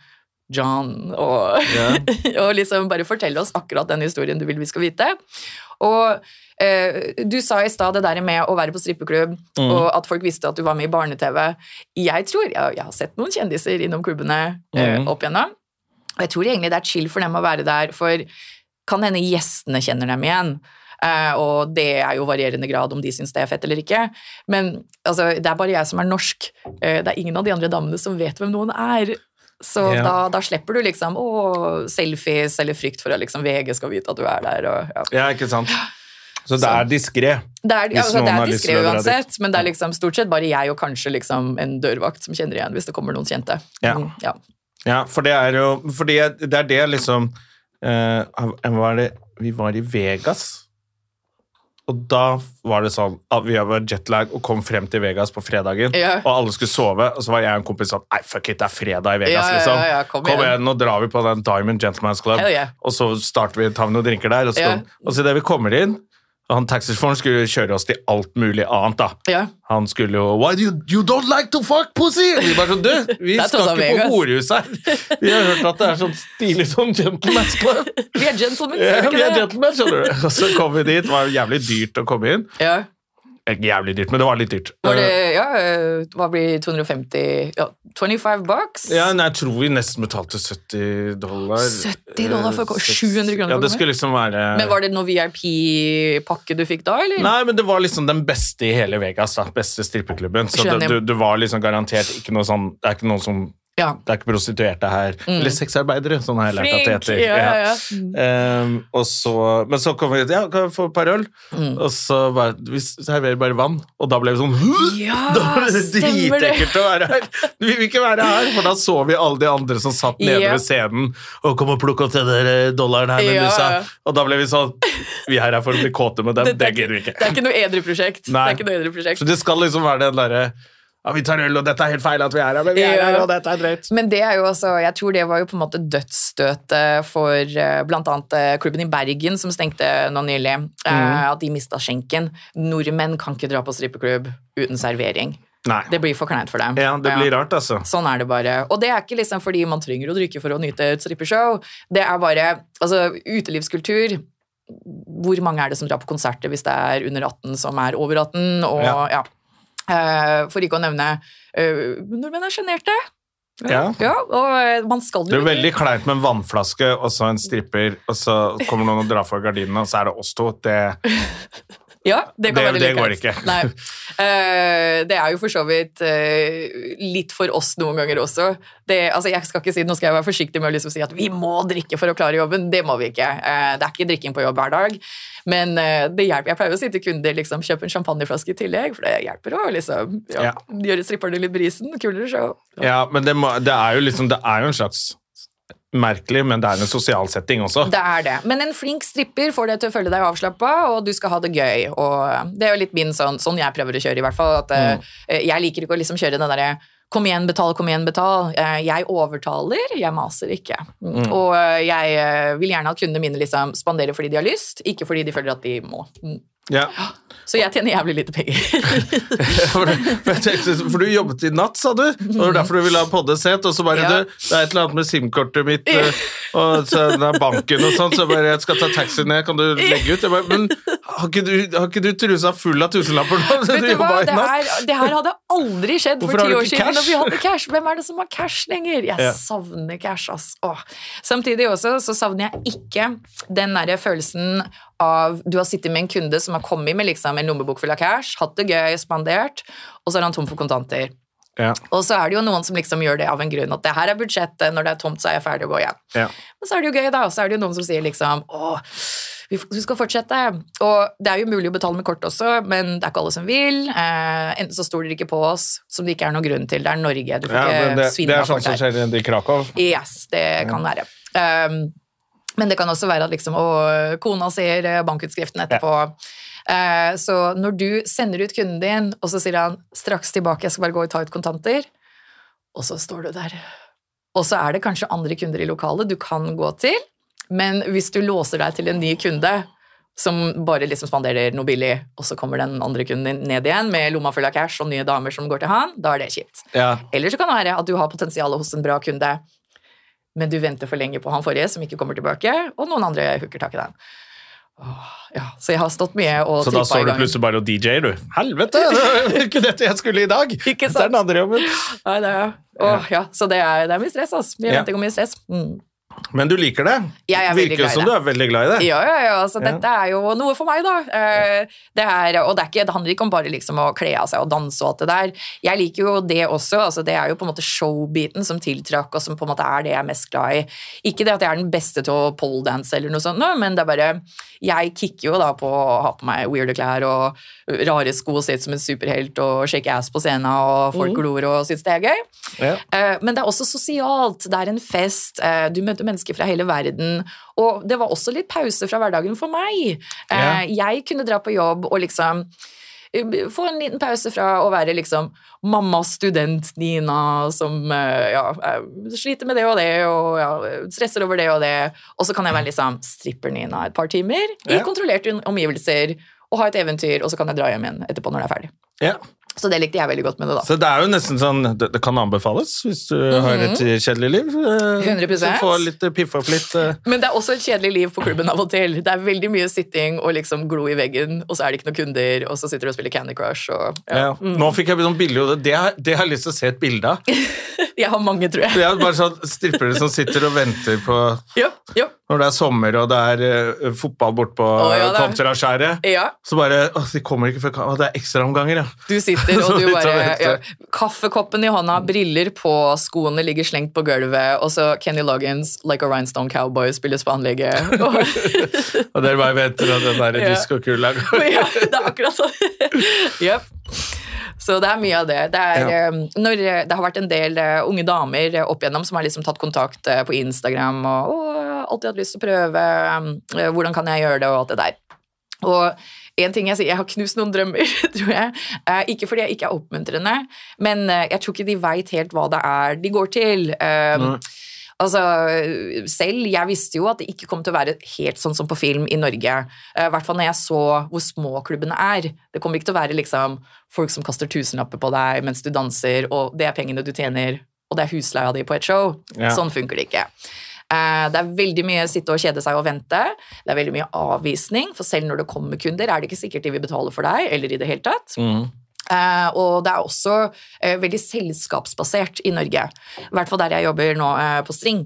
Speaker 2: John og, og liksom bare fortelle oss akkurat den historien du vil vi skal vite. Og eh, du sa i stad det der med å være på strippeklubb, og at folk visste at du var med i barne-TV. Jeg tror jeg, jeg har sett noen kjendiser innom klubbene eh, opp igjennom. Og jeg tror egentlig det er chill for dem å være der, for kan hende gjestene kjenner dem igjen. Eh, og det er jo varierende grad om de syns det er fett eller ikke. Men altså, det er bare jeg som er norsk. Eh, det er ingen av de andre damene som vet hvem noen er. Så
Speaker 1: Ja.
Speaker 2: da, da slipper du liksom å, selfies eller frykt for at liksom, VG skal vite at du er der. Og, ja.
Speaker 1: Ja, ikke sant? Så det er diskré.
Speaker 2: Det er,
Speaker 1: Hvis
Speaker 2: altså,
Speaker 1: noen
Speaker 2: det
Speaker 1: har
Speaker 2: er
Speaker 1: lyst til å
Speaker 2: diskré
Speaker 1: dra dit.
Speaker 2: uansett, men det er liksom stort sett bare jeg og kanskje liksom en dørvakt som kjenner igjen hvis det kommer noen kjente.
Speaker 1: Ja.
Speaker 2: Mm, ja.
Speaker 1: Ja, for det er jo Fordi det er det liksom eh, var det, Vi var i Vegas, og da var det sånn at vi var jetlag og kom frem til Vegas på fredagen,
Speaker 2: Ja.
Speaker 1: og alle skulle sove, og så var jeg og en kompis sånn Nei, fuck it, det er fredag i Vegas,
Speaker 2: Ja, ja,
Speaker 1: liksom.
Speaker 2: ja, ja, kom igjen.
Speaker 1: nå drar vi på den Diamond Gentleman's Club,
Speaker 2: Hell yeah.
Speaker 1: og så starter vi, tar vi noen drinker der, og så,
Speaker 2: Ja.
Speaker 1: og så idet vi kommer inn og han taxisjåføren skulle jo kjøre oss til alt mulig annet, da.
Speaker 2: Ja.
Speaker 1: Han skulle jo Why do you, you don't like to fuck pussy? Og vi bare sånn, du, vi
Speaker 2: Det er
Speaker 1: skal
Speaker 2: tross alt
Speaker 1: ikke på
Speaker 2: Vegas.
Speaker 1: horehus her. Vi har hørt at det er sånn stilig som gentleman's club.
Speaker 2: Vi er gentlemen,
Speaker 1: Ja,
Speaker 2: ser
Speaker 1: vi
Speaker 2: du ikke
Speaker 1: er
Speaker 2: det?
Speaker 1: gentlemen, skjønner du. Og så kom vi dit, det var jævlig dyrt å komme inn.
Speaker 2: Ja.
Speaker 1: Ikke jævlig dyrt, men det var litt dyrt.
Speaker 2: Var det, ja, eh, hva blir 250 ja, 25 bucks?
Speaker 1: Eh, Ja, nei, jeg tror vi nesten betalte 70 dollar.
Speaker 2: 70 dollar for å komme-
Speaker 1: Eh,
Speaker 2: 700
Speaker 1: Ja, det
Speaker 2: kroner for å komme.
Speaker 1: skulle liksom være
Speaker 2: Men var det noe VIP-pakke du fikk da, eller?
Speaker 1: Nei, men det var liksom den beste i hele Vegas, da. Beste strippeklubben. Så
Speaker 2: Skjønner.
Speaker 1: det, du, du var liksom garantert ikke noe sånn Det er ikke noen som
Speaker 2: Ja.
Speaker 1: Det er ikke prostituerte her. Eller sexarbeidere, sånn har jeg lært at det
Speaker 2: Flink!
Speaker 1: heter.
Speaker 2: Ja, ja, ja.
Speaker 1: Ehm, og så, men så kom vi ut, ja, kan vi få et par øl?
Speaker 2: Mm.
Speaker 1: Og så bare, vi serverer bare vann. Og da ble vi sånn
Speaker 2: Ja,
Speaker 1: Da ble det
Speaker 2: stemmer det.
Speaker 1: dritekkelt å være her! Vi vil ikke være her! For da så vi alle de andre som satt nede
Speaker 2: Ja.
Speaker 1: ved scenen og kom og plukket opp den der eh, dollaren her med
Speaker 2: Ja,
Speaker 1: musa.
Speaker 2: ja.
Speaker 1: Og da ble vi sånn Vi er her for å bli kåte med dem, det,
Speaker 2: er
Speaker 1: gidder vi ikke.
Speaker 2: Det er ikke noe edru prosjekt. Det
Speaker 1: Nei.
Speaker 2: er ikke noe edru prosjekt.
Speaker 1: Så det skal liksom være den derre ja, Vi tar øl, og dette er helt feil at vi er her, men vi er
Speaker 2: Ja.
Speaker 1: her, og dette er drøyt.
Speaker 2: Men det er jo også, jeg tror det var jo på en måte dødsstøtet for eh, blant annet eh, klubben i Bergen som stengte nå nylig, eh,
Speaker 1: Mm.
Speaker 2: at de mistet skjenken. Nordmenn kan ikke dra på strippeklubb uten servering.
Speaker 1: Nei.
Speaker 2: Det blir for kleint for dem.
Speaker 1: Ja, det blir rart, altså.
Speaker 2: Sånn er det bare. Og det er ikke liksom fordi man trenger å drikke for å nyte et strippeshow. Det er bare altså, utelivskultur. Hvor mange er det som drar på konserter hvis det er under 18 som er over 18? Og, ja.
Speaker 1: Ja.
Speaker 2: Eh, for ikke å nevne eh, Nordmenn er sjenerte.
Speaker 1: Ja.
Speaker 2: Ja, og eh, man skal
Speaker 1: Det
Speaker 2: jo
Speaker 1: er jo veldig kleint med en vannflaske og så en stripper, og så kommer noen og drar for gardinene, og så er det oss to. Det,
Speaker 2: Ja, det kan
Speaker 1: Det-
Speaker 2: være
Speaker 1: det
Speaker 2: litt
Speaker 1: går
Speaker 2: greit.
Speaker 1: ikke.
Speaker 2: Nei. Eh, det er jo for så vidt eh, litt for oss noen ganger også. Det, altså, jeg skal ikke si, nå skal jeg være forsiktig med å liksom si at vi må drikke for å klare jobben. Det må vi ikke. Eh, det er ikke drikking på jobb hver dag. Men eh, det hjelper. Jeg pleier å si til kunder liksom, kjøp en champagneflaske i tillegg, for det hjelper å liksom, ja,
Speaker 1: Ja.
Speaker 2: gjøre stripperne litt brisen. Kulere show.
Speaker 1: ja, men det, må, det er jo liksom Det er jo en slags Merkelig, men det er en sosial setting også.
Speaker 2: Det er det. Men en flink stripper får deg til å føle deg avslappa, og du skal ha det gøy. Og det er jo litt min sånn, sånn jeg prøver å kjøre, i hvert fall. At, eh, Jeg liker ikke å liksom kjøre den derre Kom igjen, betal, kom igjen, betal. Eh, Jeg overtaler, jeg maser ikke. Og eh, jeg eh, vil gjerne at kundene mine liksom spanderer fordi de har lyst, ikke fordi de føler at de må. Mm.
Speaker 1: Ja.
Speaker 2: Så jeg tjener jævlig lite penger.
Speaker 1: For, for, jeg tenkte, liksom, for du jobbet i natt, sa du. Og det var derfor du ville ha poddesett. Og så bare
Speaker 2: Ja.
Speaker 1: du, Det er et eller annet med SIM-kortet mitt eh, og så den der banken og sånn, så jeg bare jeg skal ta taxi ned, kan du legge ut? Jeg bare, men har ikke, du, har ikke du trusa full av tusenlapper nå? Du
Speaker 2: Vet du hva?
Speaker 1: jobbet i
Speaker 2: Det
Speaker 1: natt.
Speaker 2: her, det her hadde aldri skjedd
Speaker 1: Hvorfor
Speaker 2: for
Speaker 1: har
Speaker 2: ti
Speaker 1: du
Speaker 2: år
Speaker 1: ikke
Speaker 2: siden.
Speaker 1: cash?
Speaker 2: Når vi hadde cash. Hvem er det som har cash lenger? Jeg
Speaker 1: Ja.
Speaker 2: savner cash, ass. Åh. Samtidig også så savner jeg ikke den derre følelsen av Du har sittet med en kunde som har kommet med liksom en lommebok full av cash, hatt det gøy, spandert, og så er han tom for kontanter.
Speaker 1: Ja,
Speaker 2: Og så er det jo noen som liksom gjør det av en grunn, at det her er budsjettet, når det er tomt, så er jeg ferdig å gå hjem.
Speaker 1: ja.
Speaker 2: Men så er det jo gøy, da. Og så er det jo noen som sier liksom Å, vi, f- vi skal fortsette. Og det er jo mulig å betale med kort også, men det er ikke alle som vil. Eh, enten så stoler de ikke på oss, som det ikke er noen grunn til. Det er Norge. Du får
Speaker 1: Ja, men det,
Speaker 2: ikke
Speaker 1: det
Speaker 2: svinne
Speaker 1: er
Speaker 2: av
Speaker 1: sånn
Speaker 2: kort
Speaker 1: som
Speaker 2: her.
Speaker 1: skjer i Krakow.
Speaker 2: Yes, det kan være. Um, men det kan også være at liksom, å, kona ser eh, bankutskriften etterpå. Eh, så når du sender ut kunden din, og så sier han 'straks tilbake, jeg skal bare gå og ta ut kontanter', og så står du der. Og så er det kanskje andre kunder i lokalet du kan gå til, men hvis du låser deg til en ny kunde som bare liksom spanderer noe billig, og så kommer den andre kunden din ned igjen med lomma full av cash og nye damer som går til han, da er det kjipt.
Speaker 1: Ja.
Speaker 2: Eller så kan det være at du har potensialet hos en bra kunde, men du venter for lenge på han forrige som ikke kommer tilbake, og noen andre hooker tak i den. Åh, ja. Så jeg har stått mye og
Speaker 1: Så da
Speaker 2: trippa i
Speaker 1: står du
Speaker 2: gangen.
Speaker 1: plutselig bare og DJ-er, du. Helvete! Det var ikke dette jeg skulle i dag!
Speaker 2: Ikke sant?
Speaker 1: Det er den andre jobben.
Speaker 2: Nei, det er, åh, ja. Så det er, det er mye stress, altså. Mye
Speaker 1: Ja.
Speaker 2: venting og mye stress. Mm.
Speaker 1: Men du liker det?
Speaker 2: Jeg er veldig
Speaker 1: Virker
Speaker 2: glad i
Speaker 1: som
Speaker 2: det.
Speaker 1: du er veldig glad i det.
Speaker 2: Ja, ja, ja. Så
Speaker 1: Ja.
Speaker 2: dette er jo noe for meg, da. Eh, Det er, og det, er ikke, det handler ikke om bare liksom å kle av seg og danse og alt det der. Jeg liker jo det også. Altså, det er jo på en måte showbiten som tiltrakk, og som på en måte er det jeg er mest glad i. Ikke det at jeg er den beste til å poledance eller noe sånt, nå, men det er bare Jeg kicker jo da på å ha på meg weirde klær og rare sko og se ut som en superhelt og shake ass på scenen, og folk glor og syns det er gøy.
Speaker 1: Ja.
Speaker 2: Eh, Men det er også sosialt. Det er en fest. eh, Du møter mennesker fra hele verden. Og det var også litt pause fra hverdagen for meg. Eh, Jeg kunne dra på jobb og liksom eh, få en liten pause fra å være liksom mammas student Nina som eh, ja, eh, sliter med det og det og ja, stresser over det og det. Og så kan jeg være liksom stripper Nina et par timer i
Speaker 1: Ja.
Speaker 2: kontrollerte omgivelser og ha et eventyr, og så kan jeg dra hjem igjen etterpå når det er ferdig.
Speaker 1: Ja.
Speaker 2: Så det likte jeg veldig godt med det, da.
Speaker 1: Så det er jo nesten sånn Det, det kan anbefales hvis du har et
Speaker 2: Mhm.
Speaker 1: kjedelig liv. eh,
Speaker 2: 100%.
Speaker 1: Så få litt eh, piffa opp litt. eh.
Speaker 2: Men det er også et kjedelig liv på klubben av og til. Det er veldig mye sitting og liksom glo i veggen, og så er det ikke noen kunder, og så sitter du og spiller Candy Crush og ja. Mm.
Speaker 1: Ja. Nå fikk jeg sånn bilde i hodet. Det har det har jeg lyst til å se et bilde av.
Speaker 2: Jeg har mange, tror
Speaker 1: Det
Speaker 2: jeg.
Speaker 1: er bare sånn strippere som sitter og venter på
Speaker 2: Ja, ja,
Speaker 1: Når det er sommer og det er eh, fotball bort på
Speaker 2: Å, ja, det er-
Speaker 1: Kontraskjæret,
Speaker 2: ja.
Speaker 1: så bare Å, de kommer ikke før ka- Å, det er ekstraomganger, ja.
Speaker 2: Du sitter og
Speaker 1: Så
Speaker 2: du
Speaker 1: litt av
Speaker 2: bare
Speaker 1: hvert,
Speaker 2: ja.
Speaker 1: ja.
Speaker 2: Kaffekoppen i hånda, briller på, skoene ligger slengt på gulvet, og så Kenny Loggins, like a rhinestone cowboy, spilles på anlegget. Og,
Speaker 1: Og dere bare venter, og den der
Speaker 2: Ja.
Speaker 1: diskokula går.
Speaker 2: ja, det er akkurat sånn. Jep. Så det er mye av det. Det, er,
Speaker 1: Ja.
Speaker 2: eh, når, eh, det har vært en del eh, unge damer eh, opp igjennom som har liksom tatt kontakt eh, på Instagram og «Å, jeg har alltid hatt lyst til å prøve, eh, hvordan kan jeg gjøre det, og alt det der. Og en ting jeg sier, jeg har knust noen drømmer, tror jeg. Eh, Ikke fordi jeg ikke er oppmuntrende, men eh, jeg tror ikke de veit helt hva det er de går til. Eh, Altså, selv jeg visste jo at det ikke kom til å være helt sånn som på film i Norge. Eh, I hvert fall når jeg så hvor små klubbene er. Det kommer ikke til å være liksom, folk som kaster tusenlapper på deg mens du danser, og det er pengene du tjener, og det er husleia di på et show.
Speaker 1: Ja.
Speaker 2: Sånn funker det ikke. Eh, Det er veldig mye sitte og kjede seg og vente. Det er veldig mye avvisning, for selv når det kommer kunder, er det ikke sikkert de vil betale for deg, eller i det hele tatt. Eh, og det er også eh, veldig selskapsbasert i Norge. I hvert fall der jeg jobber nå eh, på String.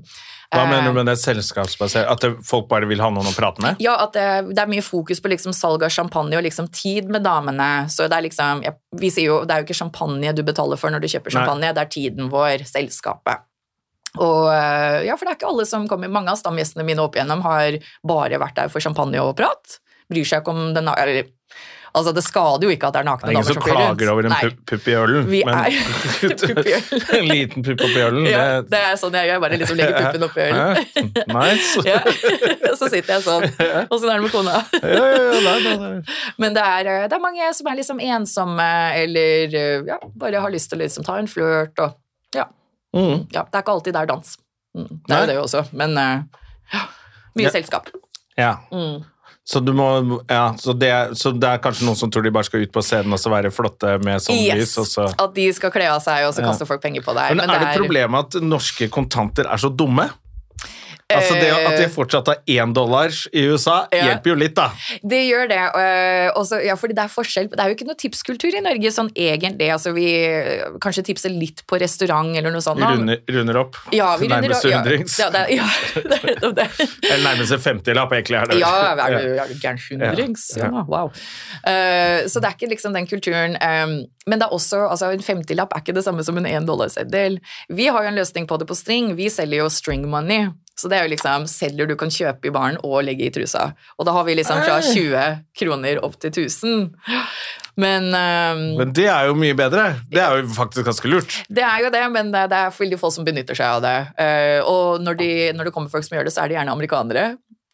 Speaker 1: Hva
Speaker 2: Eh,
Speaker 1: mener du med det selskapsbasert? At det, folk bare vil ha noen å prate med?
Speaker 2: ja, at det, det er mye fokus på liksom salg av champagne og liksom tid med damene. Så det er liksom, jeg, vi sier jo, det er jo ikke champagne du betaler for når du
Speaker 1: Nei.
Speaker 2: kjøper champagne, det er tiden vår, selskapet. Og eh, ja, for det er ikke alle som kommer, mange av stamgjestene mine opp igjennom har bare vært der for champagne og prat. Bryr seg ikke om den, eller, altså det skader jo ikke at det er
Speaker 1: Det
Speaker 2: nakne
Speaker 1: er ingen
Speaker 2: damer
Speaker 1: som
Speaker 2: som flyr rundt.
Speaker 1: klager over en
Speaker 2: Nei.
Speaker 1: pu- pupp i ølen,
Speaker 2: Vi
Speaker 1: men
Speaker 2: er- Pupp i ølen.
Speaker 1: en liten pupp oppi ølen
Speaker 2: Ja,
Speaker 1: det-
Speaker 2: det er sånn jeg gjør, bare liksom legger puppen oppi ølen.
Speaker 1: Ja, Nice.
Speaker 2: Ja. Så sitter jeg sånn. Åssen er det med kona?
Speaker 1: Ja, ja, ja, nei, nei, nei.
Speaker 2: Men det er, eh, det er mange som er liksom ensomme, eller eh, ja, bare har lyst til å liksom ta en flørt. Og, ja.
Speaker 1: Mm.
Speaker 2: ja, det er ikke alltid det er dans. Mm, det er
Speaker 1: Nei.
Speaker 2: jo det også, men eh, ja, mye
Speaker 1: Ja.
Speaker 2: selskap.
Speaker 1: Ja.
Speaker 2: Mm.
Speaker 1: Så, du må, ja så, det, er- så det er kanskje noen som tror de bare skal ut på scenen og så være flotte med sånn lys,
Speaker 2: Yes,
Speaker 1: og så
Speaker 2: At de skal kle av seg, og så
Speaker 1: Ja.
Speaker 2: kaster folk penger på deg.
Speaker 1: Men, er det et problem at norske kontanter er så dumme? Altså det At de fortsatt har én dollar i USA,
Speaker 2: Eh. Ja.
Speaker 1: hjelper jo litt, da.
Speaker 2: Det gjør det. øh, Også, ja, fordi det er forskjell. Det er jo ikke noe tipskultur i Norge sånn egentlig. Altså, vi øh, kanskje tipser litt på restaurant eller noe sånt.
Speaker 1: Vi runder, runder opp.
Speaker 2: ja, vi runder,
Speaker 1: nærmest
Speaker 2: ja,
Speaker 1: hundrings.
Speaker 2: Ja, det, er- ja, det er nettopp det.
Speaker 1: Eller nærmest en femtilapp, egentlig. Er det. vel.
Speaker 2: Ja, er du, er du gæren hundrings?
Speaker 1: Ja.
Speaker 2: Ja, wow. Øh, så det er ikke liksom den kulturen. øhm, men det er også, altså en femtilapp er ikke det samme som en én dollarseddel. Vi har jo en løsning på det på string. Vi selger jo string money. Så det er jo liksom sedler du kan kjøpe i baren og legge i trusa. Og da har vi liksom fra 20 kroner opp til 1000. Men ehm, øhm,
Speaker 1: Men det er jo mye bedre. Det er jo faktisk ganske lurt.
Speaker 2: det er jo det, men det, det er veldig få som benytter seg av det. Eh, og når, de, når det kommer folk som gjør det, så er det gjerne amerikanere.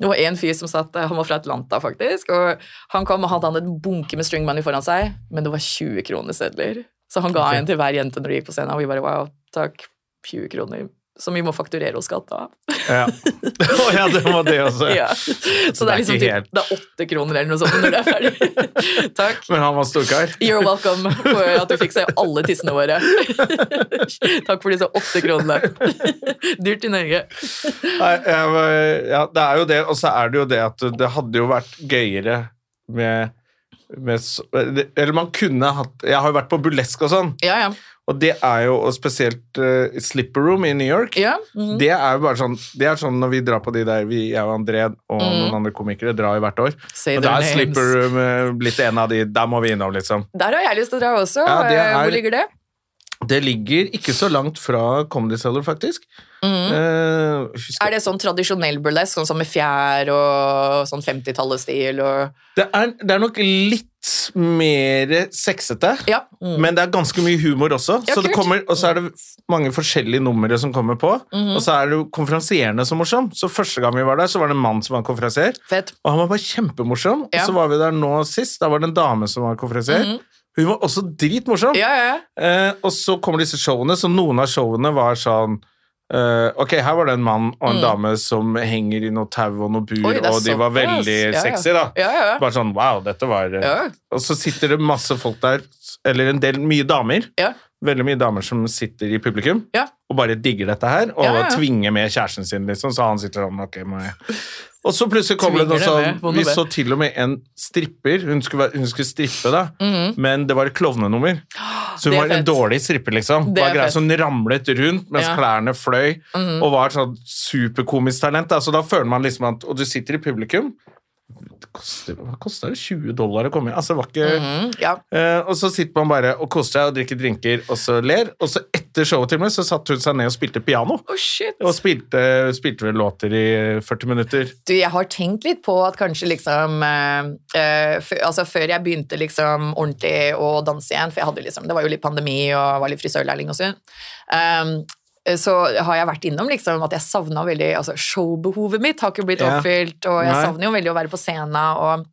Speaker 2: Det var en fyr som satt, eh, han var fra Atlanta, faktisk, og han kom og hadde han en bunke med string money foran seg, men det var 20 kronesedler. Så han ga en til hver jente når de gikk på scenen, og vi bare wow, takk, 20 kroner, som vi må fakturere og skatte av.
Speaker 1: Ja. Å ja, det var det også.
Speaker 2: Ja. Så det er liksom
Speaker 1: ikke
Speaker 2: typ,
Speaker 1: helt-
Speaker 2: det er 8 kroner eller noe sånt når det er ferdig. takk.
Speaker 1: Men han var storkar.
Speaker 2: You're welcome for at du fikk se alle tissene våre. Takk for disse åtte kronene. Dyrt i Norge.
Speaker 1: Nei, jeg var- Ja, det er jo det, og så er det jo det at det hadde jo vært gøyere med, med s- Eller man kunne hatt Jeg har jo vært på burlesk og sånn.
Speaker 2: Ja, ja.
Speaker 1: Og det er jo og spesielt eh, Slipper Room i New York.
Speaker 2: Ja, mhm.
Speaker 1: Det er jo bare sånn Det er sånn når vi drar på de der vi, Jeg og André og noen andre komikere drar jo hvert år.
Speaker 2: Say
Speaker 1: og
Speaker 2: their
Speaker 1: da er
Speaker 2: Mm-hmm. names.
Speaker 1: Slipper Room eh, blitt en av de Der må vi innom, liksom.
Speaker 2: Der har jeg lyst til å dra også.
Speaker 1: Ja, det
Speaker 2: Eh,
Speaker 1: er-
Speaker 2: Hvor ligger det?
Speaker 1: Det ligger ikke så langt fra Comedy Cellar, faktisk. Eh, husker-
Speaker 2: Mm. Er det sånn tradisjonell burlesk, sånn som med fjær og sånn 50-tallesstil og
Speaker 1: det, er, det er nok litt mer sexete.
Speaker 2: Ja. Mm.
Speaker 1: Men det er ganske mye humor også,
Speaker 2: Ja,
Speaker 1: så det
Speaker 2: kult.
Speaker 1: kommer, og så er det f- mange forskjellige numre som kommer på.
Speaker 2: Mm-hmm.
Speaker 1: Og så er det jo konferansierene så morsom. Så første gang vi var der, så var det en mann som var konferansier,
Speaker 2: Fett.
Speaker 1: og han var bare kjempemorsom.
Speaker 2: Ja. Mm-hmm.
Speaker 1: Og så var vi der nå sist, da var det en dame som var konferansier. Hun var også dritmorsom.
Speaker 2: Ja, ja, ja.
Speaker 1: Eh, og så kommer disse showene, så noen av showene var sånn eh, ok, her var det en mann og en dame som henger i noe tau og noe bur,
Speaker 2: Mm. Oi, det er
Speaker 1: og de var
Speaker 2: såpass.
Speaker 1: veldig
Speaker 2: Ja, ja.
Speaker 1: sexy, da.
Speaker 2: Ja, ja, ja.
Speaker 1: Bare sånn wow, dette var eh,
Speaker 2: Ja.
Speaker 1: Og så sitter det masse folk der, eller en del mye damer.
Speaker 2: Ja.
Speaker 1: Veldig mye damer som sitter i publikum
Speaker 2: Ja.
Speaker 1: og bare digger dette her. Og
Speaker 2: Ja, ja, ja.
Speaker 1: tvinger med kjæresten sin, liksom. Så han sitter sånn Ok, må jeg Og så plutselig kommer det noe
Speaker 2: Tvinger det med på
Speaker 1: sånn
Speaker 2: noe
Speaker 1: Vi
Speaker 2: bed.
Speaker 1: så til og med en stripper. Hun skulle, være- hun skulle strippe, da. Men det var et klovnenummer. Så
Speaker 2: Mhm. Det
Speaker 1: hun
Speaker 2: er
Speaker 1: var en
Speaker 2: fett.
Speaker 1: dårlig stripper, liksom.
Speaker 2: Det
Speaker 1: Det
Speaker 2: er
Speaker 1: var greit,
Speaker 2: fett.
Speaker 1: så Hun ramlet rundt mens
Speaker 2: Ja. Mhm.
Speaker 1: klærne fløy, og var et sånn superkomisk talent. Da. Så da føler man liksom at Og du sitter i publikum. Det koster- Hva kosta det? 20 dollar å komme inn? Altså, det var ikke
Speaker 2: Mm, ja.
Speaker 1: Eh, og så sitter man bare og koser seg og drikker drinker, og så ler. Og så etter showet til meg, så satte hun seg ned og spilte piano.
Speaker 2: Å, Oh, shit.
Speaker 1: Og spilte, spilte vel låter i 40 minutter.
Speaker 2: Du, jeg har tenkt litt på at kanskje liksom eh, eh, før- Altså før jeg begynte liksom ordentlig å danse igjen, for jeg hadde liksom, det var jo litt pandemi og var litt frisørlærling og sånn, ehm, så har jeg vært innom liksom at jeg savna veldig altså Showbehovet mitt har ikke blitt
Speaker 1: Ja.
Speaker 2: oppfylt, og jeg
Speaker 1: Nei.
Speaker 2: savner jo veldig å være på scenen og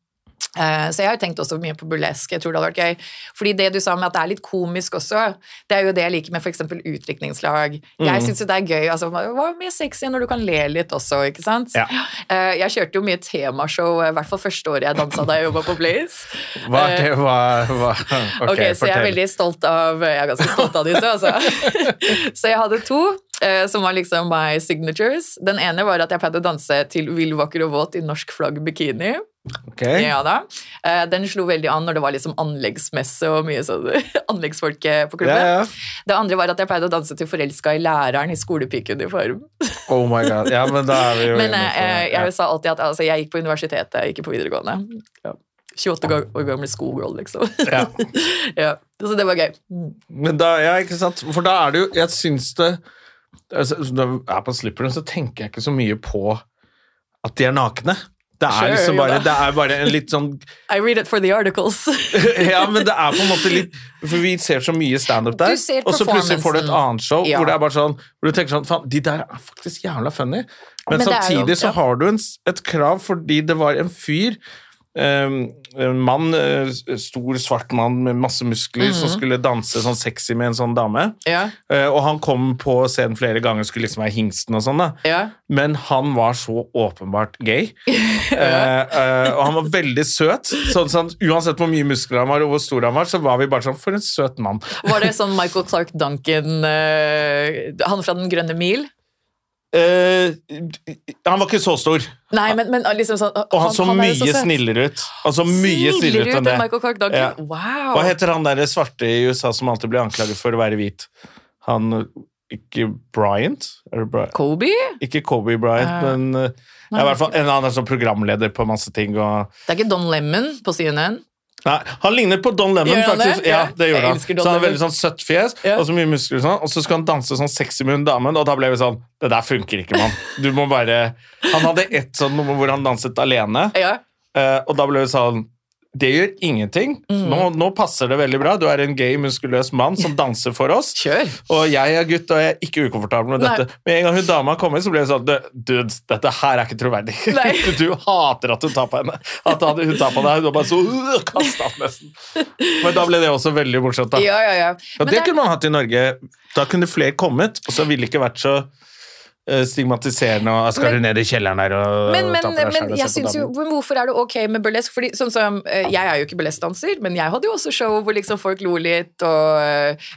Speaker 2: Eh, Så jeg har tenkt også mye på burlesk. Jeg tror det hadde vært gøy. Fordi det du sa med at det er litt komisk også, det er jo det jeg liker med f.eks. utdrikningslag.
Speaker 1: Mm.
Speaker 2: Jeg syns jo det er gøy. Altså, hva er mye sexy når du kan le litt også, ikke sant?
Speaker 1: Ja.
Speaker 2: Eh, Jeg kjørte jo mye temashow, eh, i hvert fall første året jeg dansa da jeg jobba på Blaze. Eh,
Speaker 1: Hva er det? Hva, hva?
Speaker 2: Ok, så jeg er veldig stolt av Jeg er ganske stolt av disse, altså. så jeg hadde to eh, som var liksom my signatures. Den ene var at jeg pleide å danse til Vill vakker og våt i norsk flagg bikini.
Speaker 1: Ok.
Speaker 2: Ja da. Eh, Den slo veldig an når det var liksom anleggsmesse og mye sånn anleggsfolk eh, på klubben.
Speaker 1: Ja, ja.
Speaker 2: Det andre var at jeg pleide å danse til 'Forelska i læreren' i skolepikeuniform.
Speaker 1: Oh my god. Ja, men da er vi jo
Speaker 2: Men
Speaker 1: inne på-
Speaker 2: eh, eh,
Speaker 1: ja.
Speaker 2: jeg sa alltid at altså, jeg gikk på universitetet, ikke på videregående. 28 ga- år gamle schoolgirl, liksom.
Speaker 1: Ja.
Speaker 2: ja. Så det var gøy. Mm.
Speaker 1: Men da, ja, ikke sant? For da er det jo Jeg syns det altså, Når jeg er på slipperen, så tenker jeg ikke så mye på at de er nakne. Det er
Speaker 2: Sure,
Speaker 1: liksom
Speaker 2: jo
Speaker 1: bare, det
Speaker 2: da.
Speaker 1: er bare en litt sånn
Speaker 2: I read it for the articles.
Speaker 1: ja, men det er på en måte litt For vi ser så mye standup der,
Speaker 2: Du ser
Speaker 1: og så plutselig får du et
Speaker 2: performancen.
Speaker 1: annet show
Speaker 2: Ja.
Speaker 1: hvor det er bare sånn Hvor du tenker sånn Faen, de der er faktisk jævla funny. Men,
Speaker 2: Men det er jo-
Speaker 1: samtidig så
Speaker 2: ja.
Speaker 1: har du en, s- et krav fordi det var en fyr Um, en mann, eh, stor svart mann med masse muskler, som skulle danse sånn sexy med en sånn dame.
Speaker 2: Mhm. Ja.
Speaker 1: Eh, og han kom på scenen flere ganger, skulle liksom være hingsten og sånn, da.
Speaker 2: Ja.
Speaker 1: Men han var så åpenbart gay. Eh, eh, og han var veldig søt. Sånn, sånn, uansett hvor mye muskler han var, og hvor stor han var, så var vi bare sånn For en søt mann.
Speaker 2: Var det sånn Michael Clark Duncan eh, Han fra Den grønne mil?
Speaker 1: Eh, han var ikke så stor,
Speaker 2: Nei, men, men liksom sånn
Speaker 1: og han, så
Speaker 2: er
Speaker 1: mye
Speaker 2: jo så søt.
Speaker 1: snillere ut. Han så mye snillere ut enn det.
Speaker 2: Michael Clark Duncan?
Speaker 1: Ja.
Speaker 2: Wow!
Speaker 1: Hva heter han derre svarte i USA som alltid blir anklaget for å være hvit? Han Ikke Bryant? Er det Bry
Speaker 2: Kobe?
Speaker 1: ikke Kobe Bryant,
Speaker 2: Eh,
Speaker 1: men eh, ja, i hvert fall en annen sånn programleder på masse ting. og...
Speaker 2: Det er ikke Don Lemon på CNN?
Speaker 1: Nei, han ligner på Don Lemon,
Speaker 2: Gjør han
Speaker 1: faktisk.
Speaker 2: det?
Speaker 1: Ja,
Speaker 2: Ja.
Speaker 1: det gjorde
Speaker 2: Jeg
Speaker 1: han. Så
Speaker 2: elsker Don
Speaker 1: han har
Speaker 2: Lemon.
Speaker 1: veldig sånn søtt fjes,
Speaker 2: Ja.
Speaker 1: og så mye muskler og sånn, og så skal han danse sånn sexy med hun damen, og da ble vi sånn Det der funker ikke, mann. Du må bare Han hadde ett sånn nummer hvor han danset alene,
Speaker 2: Ja.
Speaker 1: eh, og da ble vi sånn det gjør ingenting.
Speaker 2: Mm.
Speaker 1: Nå, nå passer det veldig bra. Du er en gay, muskuløs mann som danser for oss.
Speaker 2: Kjør.
Speaker 1: Og jeg er gutt, og jeg er ikke ukomfortabel med
Speaker 2: Nei.
Speaker 1: dette. Med en gang hun dama kom inn, så ble det sånn «Du- Dude, dette her er ikke troverdig.
Speaker 2: Nei.
Speaker 1: du hater at hun tar på henne. At han- hun tar på deg. Hun var bare så «Øh», kastet han nesten. Men da ble det også veldig morsomt, da.
Speaker 2: Ja, ja, ja.
Speaker 1: Og
Speaker 2: Men
Speaker 1: Ah. det
Speaker 2: det,
Speaker 1: kunne man hatt i Norge. Da kunne flere kommet, og så ville det ikke vært så eh, stigmatiserende og skal
Speaker 2: Men-
Speaker 1: du ned i kjelleren der og
Speaker 2: Men, men,
Speaker 1: ta på deg skjæret
Speaker 2: men
Speaker 1: og
Speaker 2: jeg
Speaker 1: se på
Speaker 2: synes jo,
Speaker 1: damen?
Speaker 2: men hvorfor er det ok med burlesk? Fordi, sånn som, eh, jeg er jo ikke burleskdanser, men jeg hadde jo også show hvor liksom folk lo litt. Og,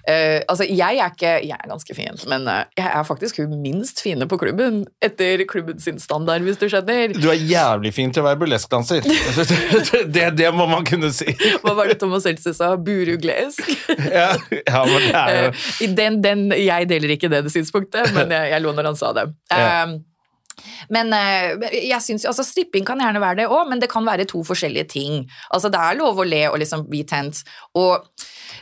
Speaker 2: eh, altså, jeg er, ikke, jeg er ganske fin, men eh, jeg er faktisk hun minst fine på klubben. Etter klubben sin standard, hvis du skjønner.
Speaker 1: Du er jævlig fin til å være burleskdanser. det, det må man kunne si.
Speaker 2: Hva var det Thomas Seltzer sa? Buruglesk.
Speaker 1: Ja, ja men det er jo
Speaker 2: Eh, i den, den, jeg deler ikke det synspunktet, men jeg, jeg lo når han sa det.
Speaker 1: Ja.
Speaker 2: Eh, men eh, men jeg synes, jo- altså, stripping kan gjerne være det òg, men det kan være to forskjellige ting. Altså, det er lov å le og liksom bli tent. Og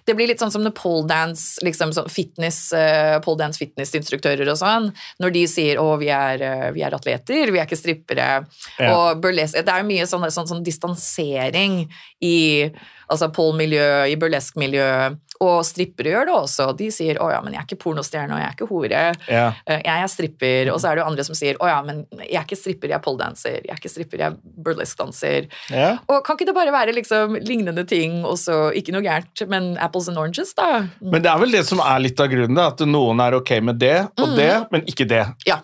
Speaker 2: det blir litt sånn som når poledance, liksom sånn fitness, eh, poledance fitnessinstruktører og sånn, når de sier å, vi er, eh, vi er atleter, vi er ikke strippere.
Speaker 1: Ja.
Speaker 2: Og burlesk, det er jo mye sånn, sånn, sånn distansering i altså pole-miljø, i burlesk-miljø. Og strippere gjør det også. De sier å ja, men jeg er ikke pornostjerne, og jeg er ikke hore.
Speaker 1: Ja.
Speaker 2: Eh, Jeg er stripper, og så er det jo andre som sier å ja, men jeg er ikke stripper, jeg er poledanser, jeg er ikke stripper, jeg er burleskdanser.
Speaker 1: Ja.
Speaker 2: Og kan ikke det bare være liksom lignende ting, og så ikke noe gærent, men apples and oranges, da?
Speaker 1: Men det er vel det som er litt av grunnen, da, at noen er ok med det og det, men ikke det.
Speaker 2: Ja.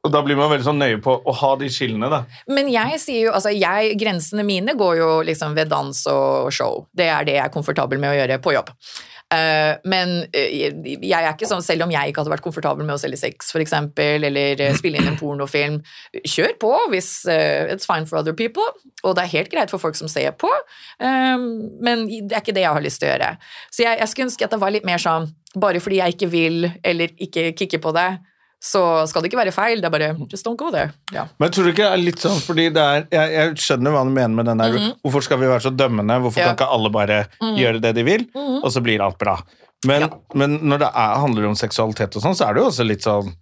Speaker 1: Og da blir man veldig sånn nøye på å ha de skillene, da.
Speaker 2: Men jeg sier jo, altså jeg, grensene mine går jo liksom ved dans og show. Det er det jeg er komfortabel med å gjøre på jobb. Eh, men eh, jeg er ikke sånn, selv om jeg ikke hadde vært komfortabel med å selge sex, for eksempel, eller eh, spille inn en pornofilm, kjør på hvis eh, it's fine for other people, og det er helt greit for folk som ser på, Eh, men det er ikke det jeg har lyst til å gjøre. Så jeg, jeg skulle ønske at det var litt mer sånn, bare fordi jeg ikke vil, eller ikke kikker på det, så skal det ikke være feil, det er bare, just don't go there. Ja.
Speaker 1: Men tror du ikke det er litt sånn, fordi det er, jeg, jeg skjønner hva du mener med den der, hvorfor skal vi være så dømmende, hvorfor
Speaker 2: Mhm. Ja.
Speaker 1: kan
Speaker 2: Mhm.
Speaker 1: ikke alle bare gjøre det de vil, og så blir alt bra. Men, men når det er, handler om seksualitet og sånn, så er det jo også litt sånn,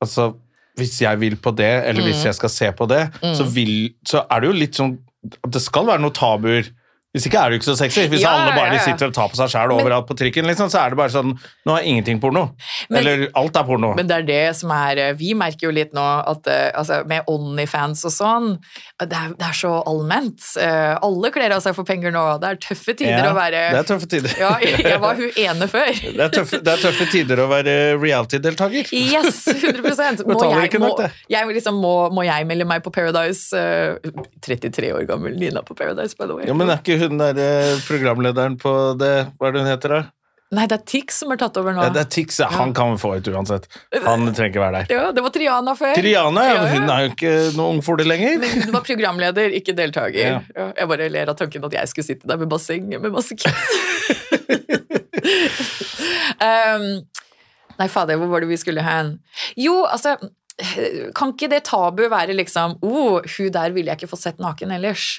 Speaker 1: altså, hvis jeg vil på det, eller
Speaker 2: Mhm.
Speaker 1: hvis jeg skal se på det, så, vil, så er det jo litt sånn, at det skal være noen tabuer, hvis ikke er det jo ikke så sexy. Hvis
Speaker 2: Ja,
Speaker 1: alle bare
Speaker 2: ja, ja.
Speaker 1: sitter og tar på seg selv overalt på trikken, liksom, så er det bare sånn, nå er ingenting porno.
Speaker 2: Men-
Speaker 1: Eller alt er porno.
Speaker 2: Men det er det som er eh, Vi merker jo litt nå at eh, altså, med Onlyfans og sånn Det er, det er så allment. Eh, Alle kler av seg for penger nå. Det er tøffe tider
Speaker 1: Ja,
Speaker 2: å være
Speaker 1: Det er tøffe tider.
Speaker 2: Ja, jeg var hun ene før.
Speaker 1: Det er, tøffe, det er tøffe tider å være reality-deltaker.
Speaker 2: Yes, 100 Må
Speaker 1: Betaler
Speaker 2: jeg,
Speaker 1: ikke
Speaker 2: må,
Speaker 1: nok, det.
Speaker 2: jeg liksom må, må jeg melde meg på Paradise? eh, 33 år gammel Nina på Paradise, by the way.
Speaker 1: Ja, men er ikke hun der eh, programlederen på det Hva er det hun heter, da?
Speaker 2: Nei, det er Tix som har tatt over nå.
Speaker 1: Ja, det er Tix. Ja. Han kan vi få ut uansett. Han trenger ikke være der.
Speaker 2: Ja, det var Triana før.
Speaker 1: Triana ja,
Speaker 2: Øh, Ja, ja.
Speaker 1: hun er jo ikke noen ungfole lenger.
Speaker 2: Du var programleder, ikke deltaker.
Speaker 1: Ja.
Speaker 2: Ja. Jeg bare ler av tanken at jeg skulle sitte der med basseng med masse kids. um, nei, fader, hvor var det vi skulle hen? Jo, altså Kan ikke det tabu være liksom oh, hun der ville jeg ikke fått sett naken ellers.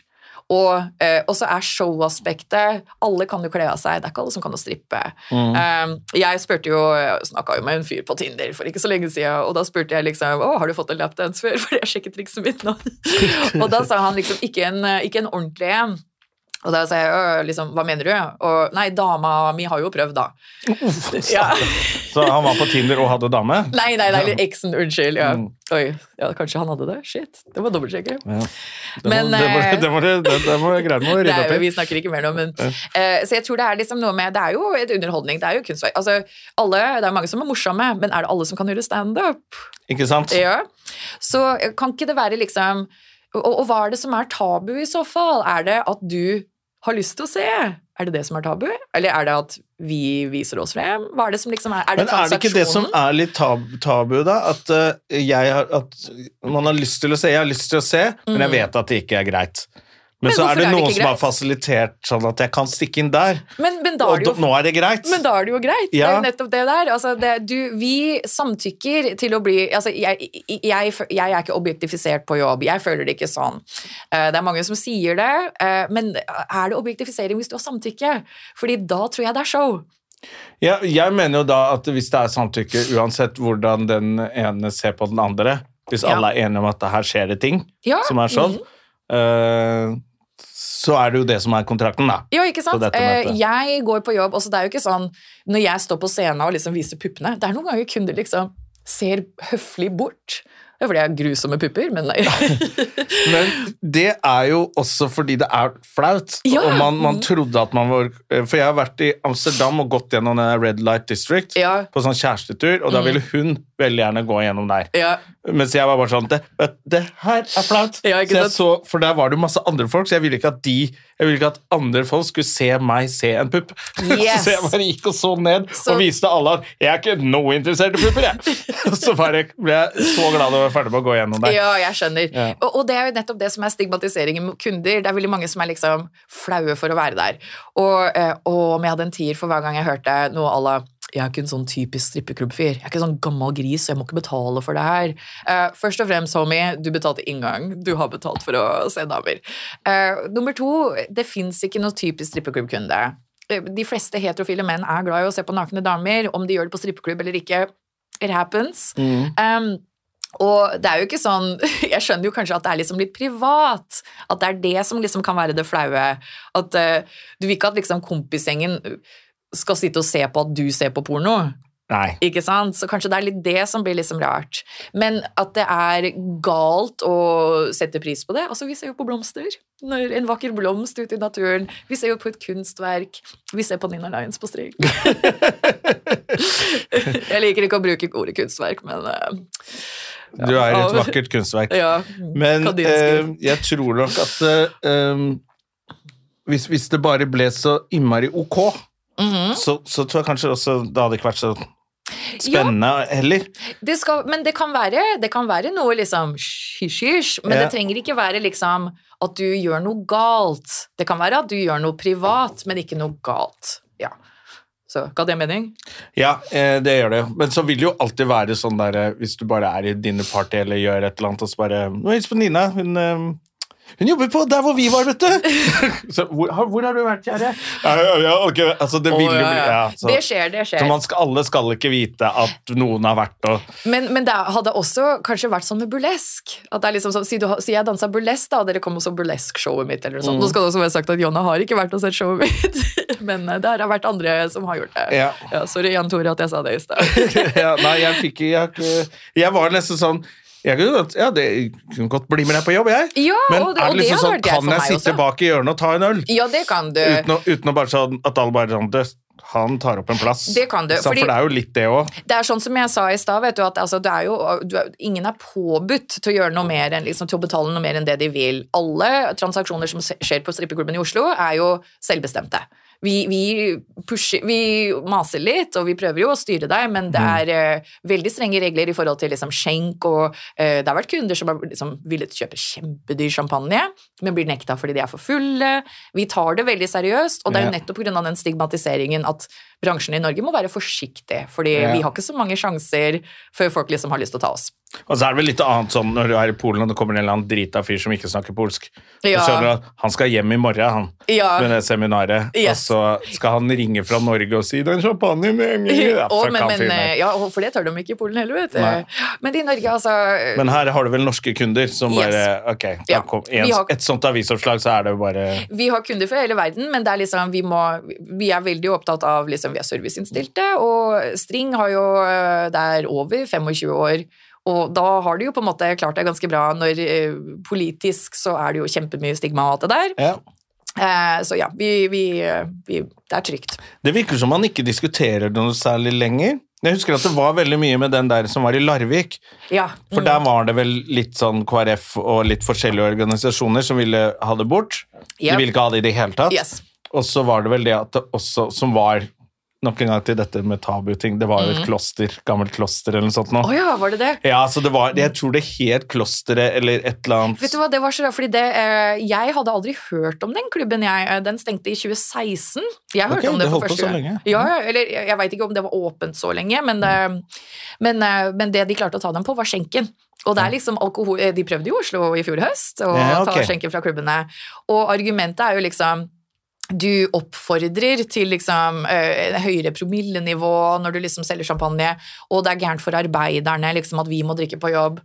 Speaker 2: Og eh, og så er showaspektet Alle kan jo kle av seg, det er ikke alle som kan å strippe. Um, jeg spurte jo, snakka jo med en fyr på Tinder for ikke så lenge siden, og da spurte jeg liksom Å, har du fått en lapdance før? For jeg sjekker trikset mitt nå. og da sa han liksom Ikke en, ikke en ordentlig en. Og da sa jeg «Å, liksom, hva mener du? Og nei, dama mi har jo prøvd, da. Ja.
Speaker 1: Så han var på Tinder og hadde dame?
Speaker 2: Nei, nei, nei, eksen, unnskyld. Ja.
Speaker 1: Mm.
Speaker 2: Oi, ja, kanskje han hadde det? Shit, det var dobbeltsjekker.
Speaker 1: Det må,
Speaker 2: Men,
Speaker 1: det må,
Speaker 2: eh,
Speaker 1: det må, det det, det må jeg greie med å
Speaker 2: Det
Speaker 1: rydde
Speaker 2: er,
Speaker 1: opp
Speaker 2: jo-
Speaker 1: i.
Speaker 2: vi snakker ikke mer nå, men eh, Så jeg tror det er liksom noe med Det er jo et underholdning, det er jo kunstverk. Altså, alle, det er mange som er morsomme, men er det alle som kan gjøre standup?
Speaker 1: Ikke sant?
Speaker 2: Ja. Så eh, kan ikke det være liksom og, og hva er det som er tabu i så fall? Er det at du har lyst til å se? Er det det som er tabu? Eller er det at vi viser oss frem? Hva er det som liksom er Er det
Speaker 1: Men er det ikke det som
Speaker 2: transaksjonen?
Speaker 1: er litt tab tabu, da? At, eh, jeg har, at man har lyst til å se, jeg har lyst til å se, men jeg vet at det ikke er greit. Men,
Speaker 2: Mm. Men
Speaker 1: så
Speaker 2: hvorfor
Speaker 1: er det
Speaker 2: er det
Speaker 1: noen
Speaker 2: ikke
Speaker 1: som har
Speaker 2: greit?
Speaker 1: fasilitert sånn at jeg kan stikke inn der,
Speaker 2: Men, men da
Speaker 1: og
Speaker 2: er det
Speaker 1: da,
Speaker 2: jo
Speaker 1: nå er det greit.
Speaker 2: Men da er det jo greit. Det er
Speaker 1: Ja.
Speaker 2: jo nettopp det der. Altså, det, du, vi samtykker til å bli altså, jeg, jeg, jeg, jeg er ikke objektifisert på jobb. Jeg føler det ikke sånn. Eh, Det er mange som sier det, eh, men er det objektifisering hvis du har samtykke? Fordi da tror jeg det er show.
Speaker 1: Ja, jeg mener jo da at hvis det er samtykke, uansett hvordan den ene ser på den andre, hvis
Speaker 2: Ja.
Speaker 1: alle er enige om at her skjer det ting
Speaker 2: Ja, mm.
Speaker 1: som er sånn, eh, så er det jo det som er kontrakten, da.
Speaker 2: Ja, ikke sant?
Speaker 1: På dette møtet.
Speaker 2: Eh, Jeg går på jobb, og så det er jo ikke sånn når jeg står på scenen og liksom viser puppene Det er noen ganger kunder liksom ser høflig bort. Det er fordi jeg har grusomme pupper, men
Speaker 1: Men det er jo også fordi det er flaut.
Speaker 2: Ja.
Speaker 1: Og man, man trodde at man var For jeg har vært i Amsterdam og gått gjennom den der Red Light District
Speaker 2: Ja. Mm.
Speaker 1: på sånn kjærestetur, og da ville hun veldig gjerne gå gjennom der.
Speaker 2: Ja.
Speaker 1: Mens jeg var bare sånn Det, det her er flaut!
Speaker 2: Ja, ikke
Speaker 1: så jeg
Speaker 2: sant?
Speaker 1: så, for der var det jo masse andre folk, så jeg ville ikke at de Jeg ville ikke at andre folk skulle se meg se en pupp.
Speaker 2: Yes.
Speaker 1: så jeg bare gikk og så ned
Speaker 2: Så-
Speaker 1: og viste alle at jeg er ikke noe interessert i pupper, jeg. Og så bare ble jeg så glad da jeg var ferdig med å gå gjennom der.
Speaker 2: Ja, jeg skjønner.
Speaker 1: Ja.
Speaker 2: Og, og det er jo nettopp det som er stigmatiseringen mot kunder. Det er veldig mange som er liksom flaue for å være der. Og, eh, og om jeg hadde en tier for hver gang jeg hørte noe à la jeg er ikke en sånn typisk strippeklubbfyr. Jeg er ikke en sånn gammel gris, så jeg må ikke betale for det her. Eh, først og fremst, homie, du betalte inngang. Du har betalt for å se damer. Eh, nummer to, det fins ikke noe typisk strippeklubbkunde. Eh, De fleste heterofile menn er glad i å se på nakne damer. Om de gjør det på strippeklubb eller ikke, it happens. Um, og det er jo ikke sånn Jeg skjønner jo kanskje at det er liksom litt privat. At det er det som liksom kan være det flaue. At eh, du vil ikke at liksom kompisgjengen skal sitte og se på at du ser på porno.
Speaker 1: Nei.
Speaker 2: Ikke sant? Så kanskje det er litt det som blir liksom rart. Men at det er galt å sette pris på det. Altså, vi ser jo på blomster. Når en vakker blomst ute i naturen. Vi ser jo på et kunstverk. Vi ser på Nina Lyons på string. jeg liker ikke å bruke ordet kunstverk, men eh,
Speaker 1: Du er et
Speaker 2: Ja.
Speaker 1: vakkert kunstverk.
Speaker 2: ja.
Speaker 1: Men
Speaker 2: Hva de
Speaker 1: eh,
Speaker 2: ønsker.
Speaker 1: jeg tror nok at eh, um, hvis, hvis det bare ble så innmari ok,
Speaker 2: Mhm.
Speaker 1: så, så tror jeg kanskje også det hadde ikke vært så spennende heller.
Speaker 2: Det skal, men det kan være, det kan være noe liksom hysj-hysj, men
Speaker 1: Ja.
Speaker 2: det trenger ikke være liksom at du gjør noe galt. Det kan være at du gjør noe privat, men ikke noe galt. Ja. Så ga det mening?
Speaker 1: Ja, eh, det gjør det jo. Men så vil det jo alltid være sånn der eh, hvis du bare er i dine party eller gjør et eller annet, og så bare Nå hils på Nina. Hun eh, hun jobber på der hvor vi var, vet du! så, hvor, har, hvor har du vært, kjære? Ja, ja, ja, ok, altså det vil jo
Speaker 2: Å,
Speaker 1: bli
Speaker 2: ja, ja.
Speaker 1: ja, så-
Speaker 2: Det skjer, det
Speaker 1: Så
Speaker 2: skjer.
Speaker 1: man skal, alle skal ikke vite at noen har vært og
Speaker 2: Men, men det hadde også kanskje vært sånn med burlesk. At det er liksom sånn, Si, du, har- si jeg dansa burlesk, da, og dere kom og så burlesk-showet mitt. eller noe
Speaker 1: Mm.
Speaker 2: sånt. Nå skal det også være sagt at Jonna har ikke vært og sett showet mitt, men eh, det har vært andre som har gjort det.
Speaker 1: Ja.
Speaker 2: sorry, Jan Tore, at jeg sa det i stad.
Speaker 1: ja, Nei, jeg fikk jeg, har ikke- jeg var nesten sånn jeg kunne godt, ja, det kunne godt bli med deg på jobb, jeg.
Speaker 2: Ja,
Speaker 1: Men
Speaker 2: og det-
Speaker 1: er
Speaker 2: og
Speaker 1: det
Speaker 2: det
Speaker 1: liksom
Speaker 2: hadde
Speaker 1: sånn,
Speaker 2: vært greit
Speaker 1: kan
Speaker 2: for
Speaker 1: jeg
Speaker 2: meg
Speaker 1: sitte
Speaker 2: også.
Speaker 1: bak i hjørnet og ta en øl?
Speaker 2: ja, det kan du.
Speaker 1: Uten å, uten å bare sånn, at alle bare sånn «Dø, Han tar opp en plass.
Speaker 2: Det kan du,
Speaker 1: Så,
Speaker 2: fordi-
Speaker 1: For det er jo litt det òg.
Speaker 2: Det er sånn som jeg sa i stad, vet du, at altså, du er jo, du er, ingen er påbudt til å gjøre noe mer enn, liksom, til å betale noe mer enn det de vil. Alle transaksjoner som se- skjer på strippeklubben i Oslo, er jo selvbestemte. Vi, vi, pusher, vi maser litt, og vi prøver jo å styre deg, men det er eh, veldig strenge regler i forhold til liksom, skjenk, og eh, det har vært kunder som har liksom, villet kjøpe kjempedyr champagne, men blir nekta fordi de er for fulle. Vi tar det veldig seriøst, og det er jo
Speaker 1: Ja.
Speaker 2: nettopp pga. den stigmatiseringen at bransjen i Norge må være forsiktig, fordi
Speaker 1: Ja.
Speaker 2: vi har ikke så mange sjanser før folk liksom har lyst til å ta oss.
Speaker 1: Og så er det vel litt annet sånn når du er i Polen og det kommer en eller annen drita fyr som ikke snakker polsk. Du
Speaker 2: Ja.
Speaker 1: skjønner at han skal hjem i morgen, han.
Speaker 2: Ja.
Speaker 1: Med det seminaret.
Speaker 2: Yes.
Speaker 1: Og så skal han ringe fra Norge og si 'den champagnen' ja,
Speaker 2: Og-
Speaker 1: fuck
Speaker 2: men,
Speaker 1: han
Speaker 2: men,
Speaker 1: fyren
Speaker 2: eh,
Speaker 1: her.
Speaker 2: ja, og for det tør de ikke i Polen heller, vet
Speaker 1: Nei.
Speaker 2: du. Men i Norge, altså
Speaker 1: Men her har du vel norske kunder som
Speaker 2: Yes.
Speaker 1: bare Ok, da
Speaker 2: Ja.
Speaker 1: kom, i en,
Speaker 2: Vi har-
Speaker 1: et sånt avisoppslag, så er det jo bare
Speaker 2: vi har kunder fra hele verden, men det er liksom, vi, må, vi er veldig opptatt av liksom, Vi er serviceinnstilte, og String har jo eh, Det er over 25 år. Og da har du jo på en måte klart deg ganske bra. Når eh, politisk så er det jo kjempemye stigma og alt det der.
Speaker 1: ja.
Speaker 2: Eh, så ja, vi, vi, eh, vi Det er trygt.
Speaker 1: Det virker som man ikke diskuterer det noe særlig lenger. Jeg husker at det var veldig mye med den der som var i Larvik.
Speaker 2: Ja.
Speaker 1: For der var det vel litt sånn KrF og litt forskjellige organisasjoner som ville ha det bort. De
Speaker 2: Yep.
Speaker 1: ville ikke ha det i det hele tatt.
Speaker 2: Yes.
Speaker 1: Og så var det vel det at det også, som var Nok en gang til dette med tabuting. Det var jo et kloster, gammelt kloster eller noe sånt nå.
Speaker 2: Mm. Å ja, var det det?
Speaker 1: Ja, så det var Jeg tror det het klosteret eller et eller annet.
Speaker 2: Vet du hva, det var så rart, fordi det, eh, Jeg hadde aldri hørt om den klubben. Jeg, eh, den stengte i 2016. Jeg hørte
Speaker 1: Ok,
Speaker 2: om
Speaker 1: det
Speaker 2: det for
Speaker 1: holdt på
Speaker 2: første
Speaker 1: så
Speaker 2: gang.
Speaker 1: lenge.
Speaker 2: Ja, ja, eller jeg, jeg veit ikke om det var åpent så lenge, men, eh, men, eh, men det de klarte å ta dem på, var skjenken. Og det er liksom alkohol, eh, De prøvde jo i Oslo i fjor høst å
Speaker 1: Ja, ok.
Speaker 2: ta skjenken fra klubbene. Og argumentet er jo liksom du oppfordrer til liksom eh, høyere promillenivå når du liksom selger champagne, og det er gærent for arbeiderne liksom at vi må drikke på jobb.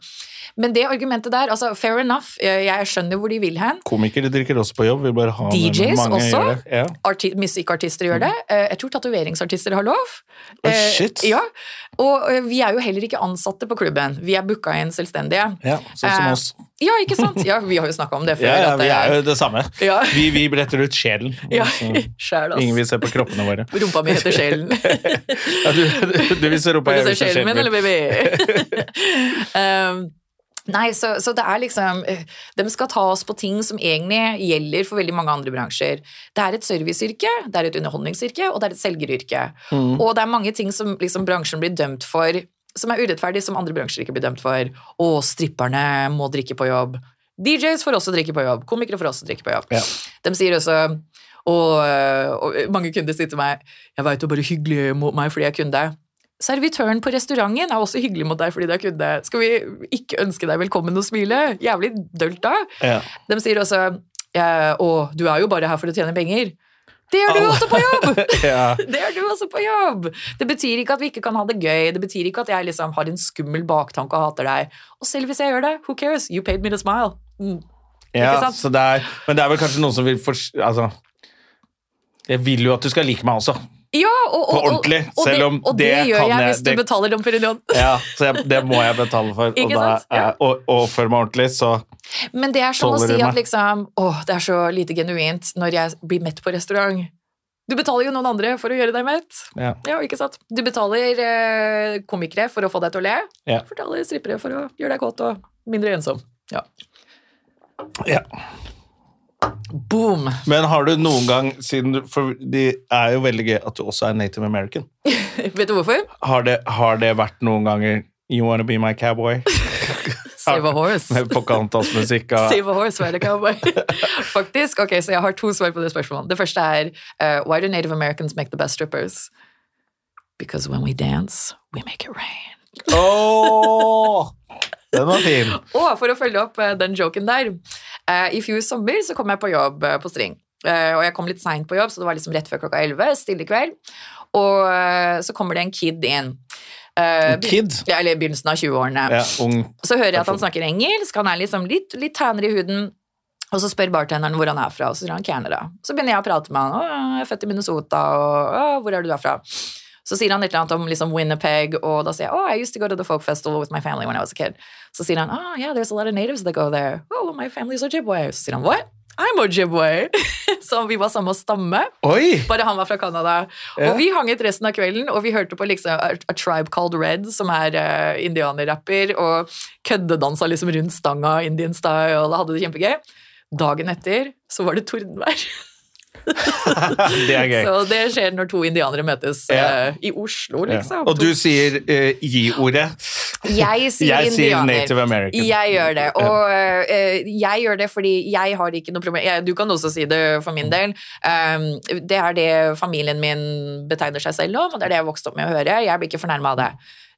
Speaker 2: Men det argumentet der, altså fair enough, eh, jeg skjønner hvor de vil hen.
Speaker 1: Komikere drikker også på jobb. Vi bare har
Speaker 2: DJs
Speaker 1: mange
Speaker 2: også?
Speaker 1: gjør det. Ja.
Speaker 2: Arti musikkartister gjør det. Eh, Jeg tror tatoveringsartister har lov.
Speaker 1: Oi,
Speaker 2: Eh,
Speaker 1: shit.
Speaker 2: Ja, og eh, vi er jo heller ikke ansatte på klubben. Vi er booka inn selvstendige.
Speaker 1: ja, sånn som
Speaker 2: Eh,
Speaker 1: oss.
Speaker 2: Ja, ikke sant? Ja, vi har jo snakka om det før.
Speaker 1: Ja, ja,
Speaker 2: at
Speaker 1: vi
Speaker 2: det-
Speaker 1: er jo det samme.
Speaker 2: Ja.
Speaker 1: Vi, vi bretter ut sjelen.
Speaker 2: ja,
Speaker 1: Så
Speaker 2: sjæl, ass.
Speaker 1: Ingen vil se på kroppene våre.
Speaker 2: Rumpa mi heter Sjelen.
Speaker 1: Ja, du, du, du vil se rumpa,
Speaker 2: Vil
Speaker 1: jeg
Speaker 2: du
Speaker 1: vil
Speaker 2: se sjelen min, eller baby? um, Nei, så, så det er liksom eh, De skal ta oss på ting som egentlig gjelder for veldig mange andre bransjer. Det er et serviceyrke, det er et underholdningsyrke, og det er et selgeryrke. Og det er mange ting som liksom, bransjen blir dømt for som er urettferdig, som andre bransjer ikke blir dømt for. Å, stripperne må drikke på jobb. DJs får også drikke på jobb. Komikere får også drikke på jobb.
Speaker 1: Ja.
Speaker 2: De sier også og, og mange kunder sier til meg 'Jeg veit du er bare hyggelig mot meg fordi jeg er kunde'. Servitøren på restauranten er også hyggelig mot deg fordi du er kunde. Skal vi ikke ønske deg velkommen og smile? Jævlig dølt, da.
Speaker 1: Ja.
Speaker 2: De sier også eh, 'Å, du er jo bare her for å tjene penger'. Det gjør du
Speaker 1: Alle-
Speaker 2: også på jobb!
Speaker 1: Ja.
Speaker 2: Det gjør du også på jobb! Det betyr ikke at vi ikke kan ha det gøy, det betyr ikke at jeg liksom har en skummel baktanke og hater deg. Og selv hvis jeg gjør det, who cares? You paid me to smile. Mm. Ikke
Speaker 1: Ja,
Speaker 2: sant?
Speaker 1: så det er, men det er vel kanskje noen som vil for, altså, Jeg vil jo at du skal like meg også.
Speaker 2: Ja, og, og,
Speaker 1: På ordentlig,
Speaker 2: og, og
Speaker 1: selv om
Speaker 2: det, og det,
Speaker 1: det
Speaker 2: gjør
Speaker 1: kan
Speaker 2: jeg,
Speaker 1: jeg-
Speaker 2: hvis du
Speaker 1: det-
Speaker 2: betaler Dom Perignon.
Speaker 1: Ja, så jeg, Det må jeg betale for. Og,
Speaker 2: Ikke
Speaker 1: da,
Speaker 2: sant? Ja.
Speaker 1: er- og, og oppføre meg ordentlig, så
Speaker 2: Men det er som å
Speaker 1: Tåler
Speaker 2: si
Speaker 1: du
Speaker 2: at
Speaker 1: meg?
Speaker 2: liksom, åh, det er så lite genuint når jeg blir mett på restaurant. Du betaler jo noen andre for å gjøre deg mett.
Speaker 1: ja.
Speaker 2: Ja, ikke sant? Du betaler eh, komikere for å få deg til å le.
Speaker 1: Ja.
Speaker 2: Du betaler strippere for å gjøre deg kåt og mindre ensom. Ja.
Speaker 1: Ja.
Speaker 2: Boom!
Speaker 1: Men har du noen gang siden du, For det er jo veldig gøy at du også er native american.
Speaker 2: Vet du hvorfor?
Speaker 1: Har det, har det vært noen ganger You wanna be my cowboy?
Speaker 2: Save a horse.
Speaker 1: Med Pocahontas-musikk og
Speaker 2: Save a horse, være cowboy. Faktisk, ok, så jeg har to svar på det spørsmålet. Det første er eh, Why do Native Americans make the best strippers? Because when we dance, we make it rain.
Speaker 1: Åh! Den var fin.
Speaker 2: Og for å følge opp eh, den joken der eh, I fjor sommer så kom jeg på jobb eh, på String. Eh, og jeg kom litt seint på jobb, så det var liksom rett før klokka 11, stille kveld. Og eh, så kommer det en kid inn. Eh,
Speaker 1: En kid?
Speaker 2: begy- Ja, eller i begynnelsen av 20-årene.
Speaker 1: Mm. Ja, ung.
Speaker 2: Så hører jeg at han
Speaker 1: Person.
Speaker 2: snakker engelsk, han er liksom litt, litt tannere i huden. Og så spør bartenderen hvor han er fra, og så sier han Canada. Så begynner jeg å prate med han. Å, jeg er født i Minnesota, og å, hvor er du derfra? Så sier han et eller annet om liksom Winnipeg, og da sier jeg oh, I used to go to the folk festival with my family when I was a kid. Så sier han oh, yeah, there's a lot of natives that go there. Oh, my family's Ojibwe. Så sier han what? I'm Ojibwe. så vi var samme stamme.
Speaker 1: Oi!
Speaker 2: Bare han var fra Canada. Og vi hang ut resten av kvelden, og vi hørte på liksom A, A Tribe Called Red, som er eh, indianerrapper, og køddedansa liksom rundt stanga, Indian style, og da hadde det kjempegøy. Dagen etter så var det tordenvær.
Speaker 1: Det er gøy.
Speaker 2: Så det skjer når to indianere møtes
Speaker 1: Ja.
Speaker 2: eh, i Oslo,
Speaker 1: Ja.
Speaker 2: liksom.
Speaker 1: Og du sier eh, gi-ordet.
Speaker 2: Jeg sier
Speaker 1: Jeg sier
Speaker 2: indianer.
Speaker 1: Native American.
Speaker 2: Jeg gjør det, og eh, jeg gjør det fordi jeg har ikke noe problem jeg, Du kan også si det for min del. Um, det er det familien min betegner seg selv om, og det er det jeg vokste opp med å høre. Jeg blir ikke fornærma av det.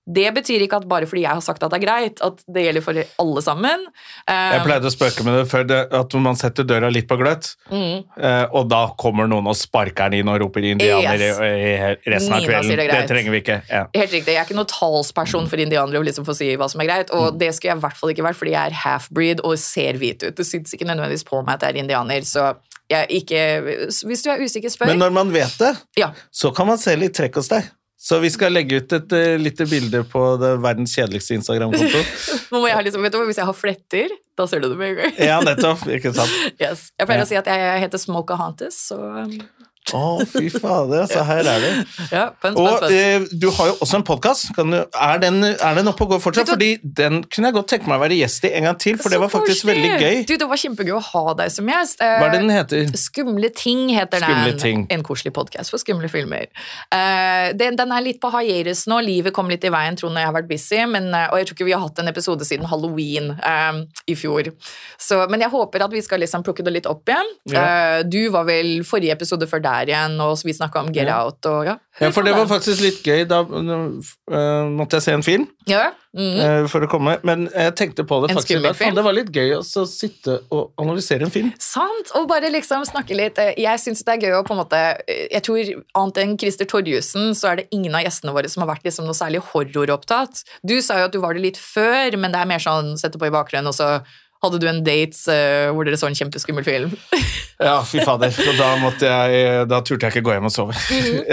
Speaker 2: Det betyr ikke at bare fordi jeg har sagt at det er greit, at det gjelder for alle sammen.
Speaker 1: Jeg
Speaker 2: Um,
Speaker 1: pleide å spøke med det før, det, at man setter døra litt på gløtt,
Speaker 2: Mm.
Speaker 1: eh, og da kommer noen og sparker den inn og roper indianer
Speaker 2: Yes.
Speaker 1: i, i resten av
Speaker 2: Nina sier
Speaker 1: kvelden.
Speaker 2: det
Speaker 1: Det,
Speaker 2: greit.
Speaker 1: trenger vi ikke. Ja.
Speaker 2: Um, Helt riktig, Jeg er ikke noen talsperson for indianere og liksom får si hva som er greit. Og
Speaker 1: Mm.
Speaker 2: det skulle jeg i hvert fall ikke vært, fordi jeg er half-breed og ser hvit ut. Det syns ikke nødvendigvis på meg at jeg er indianer, så jeg er ikke Hvis du er usikker, spør.
Speaker 1: Men når man vet det,
Speaker 2: Ja.
Speaker 1: så kan man se litt trekk hos deg. Så vi skal legge ut et eh, lite bilde på det verdens kjedeligste Instagram-konto.
Speaker 2: Nå må jeg ha liksom, vet du, hva, Hvis jeg har fletter, da ser du det med en gang.
Speaker 1: Ja, nettopp. Ikke sant?
Speaker 2: Yes. Jeg pleier
Speaker 1: Ja.
Speaker 2: å si at jeg heter Smokahantis, så um,
Speaker 1: Å, fy fader, så her er det.
Speaker 2: ja, pønt, pønt,
Speaker 1: Og
Speaker 2: pønt.
Speaker 1: eh, du har jo også en podkast. Er, den- er den oppe og går fortsatt?
Speaker 2: Vet
Speaker 1: Fordi den kunne jeg godt tenke meg å være gjest i en gang til, for det
Speaker 2: Så
Speaker 1: var faktisk
Speaker 2: koselig.
Speaker 1: veldig gøy.
Speaker 2: Du, Det var kjempegøy å ha deg som gjest. Eh,
Speaker 1: Hva er det den heter?
Speaker 2: Skumle ting heter
Speaker 1: Skumle
Speaker 2: den.
Speaker 1: ting.
Speaker 2: En koselig podkast for skumle filmer. Eh, den, den er litt på hiatus nå. Livet kom litt i veien, tror jeg jeg har vært busy. Men, eh, og jeg tror ikke vi har hatt en episode siden halloween eh, i fjor. Så, men jeg håper at vi skal liksom plukke det litt opp igjen.
Speaker 1: Ja.
Speaker 2: Eh, du var vel forrige episode før der igjen, og så vi snakka om Get
Speaker 1: Ja.
Speaker 2: Out og ja.
Speaker 1: Ja, for
Speaker 2: på
Speaker 1: det var
Speaker 2: den.
Speaker 1: faktisk litt gøy. Da øh, måtte jeg se en film
Speaker 2: Ja. Mm.
Speaker 1: øh, for å komme, men jeg tenkte på det
Speaker 2: En
Speaker 1: faktisk i
Speaker 2: skummel
Speaker 1: dag. Faen,
Speaker 2: film.
Speaker 1: Det var litt gøy også å sitte og analysere en film.
Speaker 2: Sant, og bare liksom snakke litt. Eh, Jeg syns det er gøy å på en måte eh, Jeg tror annet enn Christer Torjussen, så er det ingen av gjestene våre som har vært liksom noe særlig horroropptatt. Du sa jo at du var det litt før, men det er mer sånn sette på i bakgrunnen, og så Hadde du en date eh, hvor dere så en kjempeskummel film?
Speaker 1: Ja, fy fader. Så da, måtte jeg, eh, da turte jeg ikke gå hjem og sove.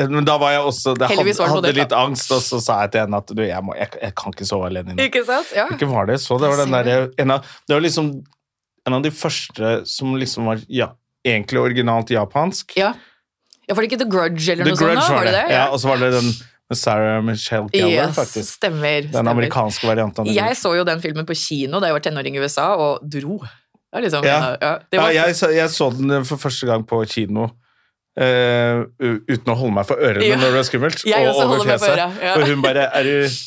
Speaker 1: Men da var jeg også Jeg
Speaker 2: Mhm. Heldigvis
Speaker 1: hadde,
Speaker 2: var det på
Speaker 1: hadde
Speaker 2: date,
Speaker 1: litt
Speaker 2: da.
Speaker 1: angst, og så sa jeg til henne at du, jeg, må, jeg, jeg kan ikke sove alene inne.
Speaker 2: Ikke sant? Ja.
Speaker 1: Ikke var det så. Det var, den
Speaker 2: Ser
Speaker 1: der, en av, det var liksom en av de første som liksom var ja, egentlig originalt japansk.
Speaker 2: Ja. ja, var det ikke The Grudge eller
Speaker 1: The
Speaker 2: noe sånt?
Speaker 1: Grudge
Speaker 2: da?
Speaker 1: var det. Ja.
Speaker 2: Ja.
Speaker 1: og så var det den med Sarah Michelle Gellar,
Speaker 2: Yes,
Speaker 1: faktisk.
Speaker 2: stemmer.
Speaker 1: Den
Speaker 2: stemmer.
Speaker 1: amerikanske varianten. av den.
Speaker 2: Jeg så jo den filmen på kino da jeg var tenåring i USA, og dro. Det var liksom,
Speaker 1: Ja.
Speaker 2: ja, det var,
Speaker 1: ja, jeg, så- jeg så den eh, for første gang på kino. eh, u- uten å holde meg for ørene
Speaker 2: Ja.
Speaker 1: når det var skummelt.
Speaker 2: Jeg
Speaker 1: og
Speaker 2: også
Speaker 1: over
Speaker 2: holder meg for
Speaker 1: fjeset.
Speaker 2: øra, ja.
Speaker 1: Og hun bare er du,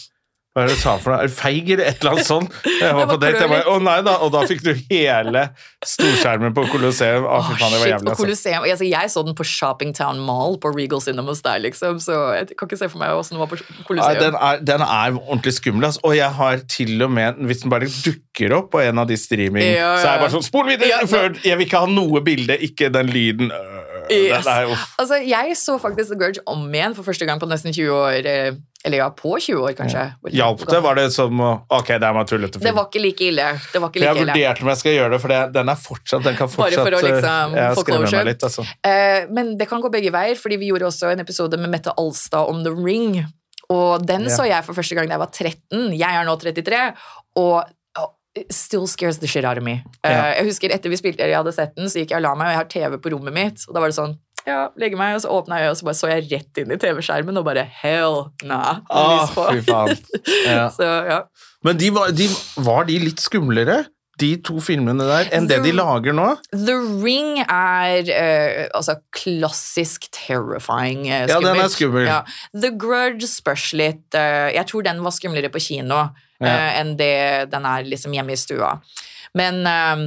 Speaker 1: Hva er det du sa for noe? Er du feig, eller et eller annet sånt? Jeg var
Speaker 2: Jeg
Speaker 1: på
Speaker 2: bare
Speaker 1: date, jeg
Speaker 2: klør
Speaker 1: bare Å nei da! Og da fikk du hele storskjermen på Colosseum. Å, fy
Speaker 2: Åh,
Speaker 1: faen, det var
Speaker 2: shit,
Speaker 1: jævlig.
Speaker 2: på
Speaker 1: Altså.
Speaker 2: Colosseum. Altså, jeg så den på Shoppingtown Mall på Regal Cinemas der, liksom, så jeg kan ikke se for meg hvordan den var på
Speaker 1: Nei,
Speaker 2: Colosseum.
Speaker 1: den, er, den er ordentlig skummel, altså. og jeg har til og med Hvis den bare dukker opp på en av de streaming,
Speaker 2: Ja, ja, ja.
Speaker 1: så er jeg bare sånn Spol videre!
Speaker 2: Ja,
Speaker 1: før, jeg vil ikke ha noe bilde, ikke den lyden øh,
Speaker 2: Yes.
Speaker 1: den er, uff.
Speaker 2: Altså, jeg så faktisk The Grudge om igjen for første gang på nesten 20 år. eh, Eller ja, på 20 år, kanskje. Hvor-
Speaker 1: Hjalp det? Var det som å Ok, det er meg tullete
Speaker 2: Det
Speaker 1: film.
Speaker 2: var ikke like ille. Det var ikke
Speaker 1: For jeg
Speaker 2: like ille.
Speaker 1: vurderte om jeg skal gjøre det, for det, den er fortsatt Den kan
Speaker 2: Bare
Speaker 1: fortsatt
Speaker 2: for å liksom
Speaker 1: eh,
Speaker 2: få
Speaker 1: skremme
Speaker 2: closure.
Speaker 1: meg litt, altså.
Speaker 2: Eh, Men det kan gå begge veier, fordi vi gjorde også en episode med Mette Alstad om The Ring. Og den
Speaker 1: Ja.
Speaker 2: så jeg for første gang da jeg var 13. Jeg er nå 33. og oh, it Still scares the shit out of me. Eh,
Speaker 1: Ja.
Speaker 2: Jeg husker etter vi spilte, eller jeg hadde sett den, så gikk jeg og la meg, og jeg har TV på rommet mitt. Og da var det sånn ja, legge meg, og så åpna jeg øyet, og så bare så jeg rett inn i TV-skjermen, og bare hell nah.
Speaker 1: Ah,
Speaker 2: lys på.
Speaker 1: fy faen. Ja.
Speaker 2: så ja.
Speaker 1: Men de var, de, var de litt skumlere, de to filmene der, enn det de lager nå?
Speaker 2: The Ring er eh, altså klassisk terrifying eh,
Speaker 1: Ja,
Speaker 2: skummelt.
Speaker 1: den er skummel.
Speaker 2: Ja. The Grudge spørs litt. eh, jeg tror den var skumlere på kino eh,
Speaker 1: Ja.
Speaker 2: enn det den er liksom hjemme i stua. Men, eh,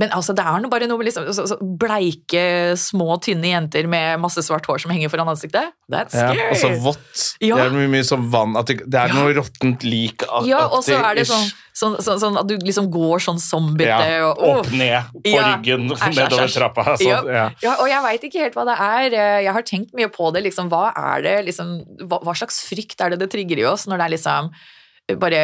Speaker 2: men altså, det er noe bare noe med liksom, så, så bleike, små, tynne jenter med masse svart hår som henger foran ansiktet. That's
Speaker 1: Ja,
Speaker 2: scary.
Speaker 1: og så vått.
Speaker 2: Ja.
Speaker 1: Det er mye, mye sånn vann at det, det er noe råttent lik. ak-
Speaker 2: ja, og så
Speaker 1: aktig,
Speaker 2: er det sånn,
Speaker 1: ish.
Speaker 2: sånn, sånn, sånn at du liksom går sånn zombiete.
Speaker 1: ja,
Speaker 2: og,
Speaker 1: Opp ned på
Speaker 2: Ja.
Speaker 1: ryggen,
Speaker 2: Æsj, æsj,
Speaker 1: nedover
Speaker 2: æsj.
Speaker 1: trappa. altså,
Speaker 2: Ja.
Speaker 1: ja.
Speaker 2: Ja, og jeg veit ikke helt hva det er. Eh, Jeg har tenkt mye på det. Liksom, hva, er det liksom, hva, hva slags frykt er det det trigger i oss når det er liksom bare,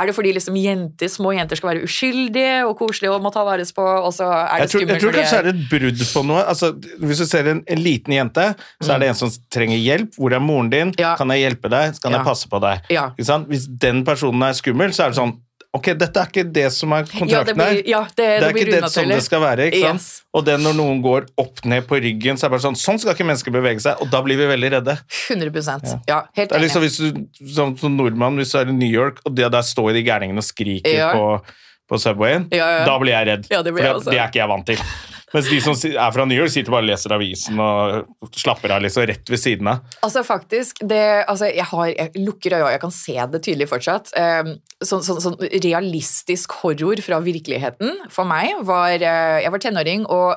Speaker 2: er det fordi liksom jenter, små jenter skal være uskyldige og koselige og må ta vares på, og så er
Speaker 1: Jeg
Speaker 2: det
Speaker 1: tror, jeg
Speaker 2: skummelt
Speaker 1: tror
Speaker 2: fordi
Speaker 1: kanskje det er et brudd på noe. Altså, hvis du ser en, en liten jente, så er det en som trenger hjelp. Hvor er moren din?
Speaker 2: Mm. Ja.
Speaker 1: Kan jeg hjelpe deg? Kan
Speaker 2: Ja.
Speaker 1: jeg passe på deg?
Speaker 2: Ja.
Speaker 1: Ikke sant? Hvis den personen er skummel, så er det sånn Ok, dette er ikke det som er
Speaker 2: ja, det
Speaker 1: kontrakten her.
Speaker 2: blir, ja, det, det,
Speaker 1: Det er
Speaker 2: blir
Speaker 1: ikke det som
Speaker 2: unaturlig.
Speaker 1: det skal være. ikke sant?
Speaker 2: Yes.
Speaker 1: Og det når noen går opp ned på ryggen, så er det bare sånn Sånn skal ikke mennesker bevege seg, og da blir vi veldig redde.
Speaker 2: 100 Ja, helt
Speaker 1: Det er
Speaker 2: enig.
Speaker 1: liksom hvis du, som, som nordmann, hvis du er i New York, og det der står de gærningene og skriker
Speaker 2: Ja.
Speaker 1: på, på Subwayen,
Speaker 2: Ja, ja.
Speaker 1: da blir jeg redd.
Speaker 2: Ja, det blir jeg
Speaker 1: for
Speaker 2: også.
Speaker 1: det, det er ikke jeg vant til. Mens de som si- er fra New York, sitter bare og leser avisen og slapper av liksom rett ved siden av.
Speaker 2: Altså faktisk, det, altså, jeg, har, jeg lukker øya, jeg kan se det tydelig fortsatt. Eh, Sånn, sånn, sånn realistisk horror fra virkeligheten for meg var eh, Jeg var tenåring, og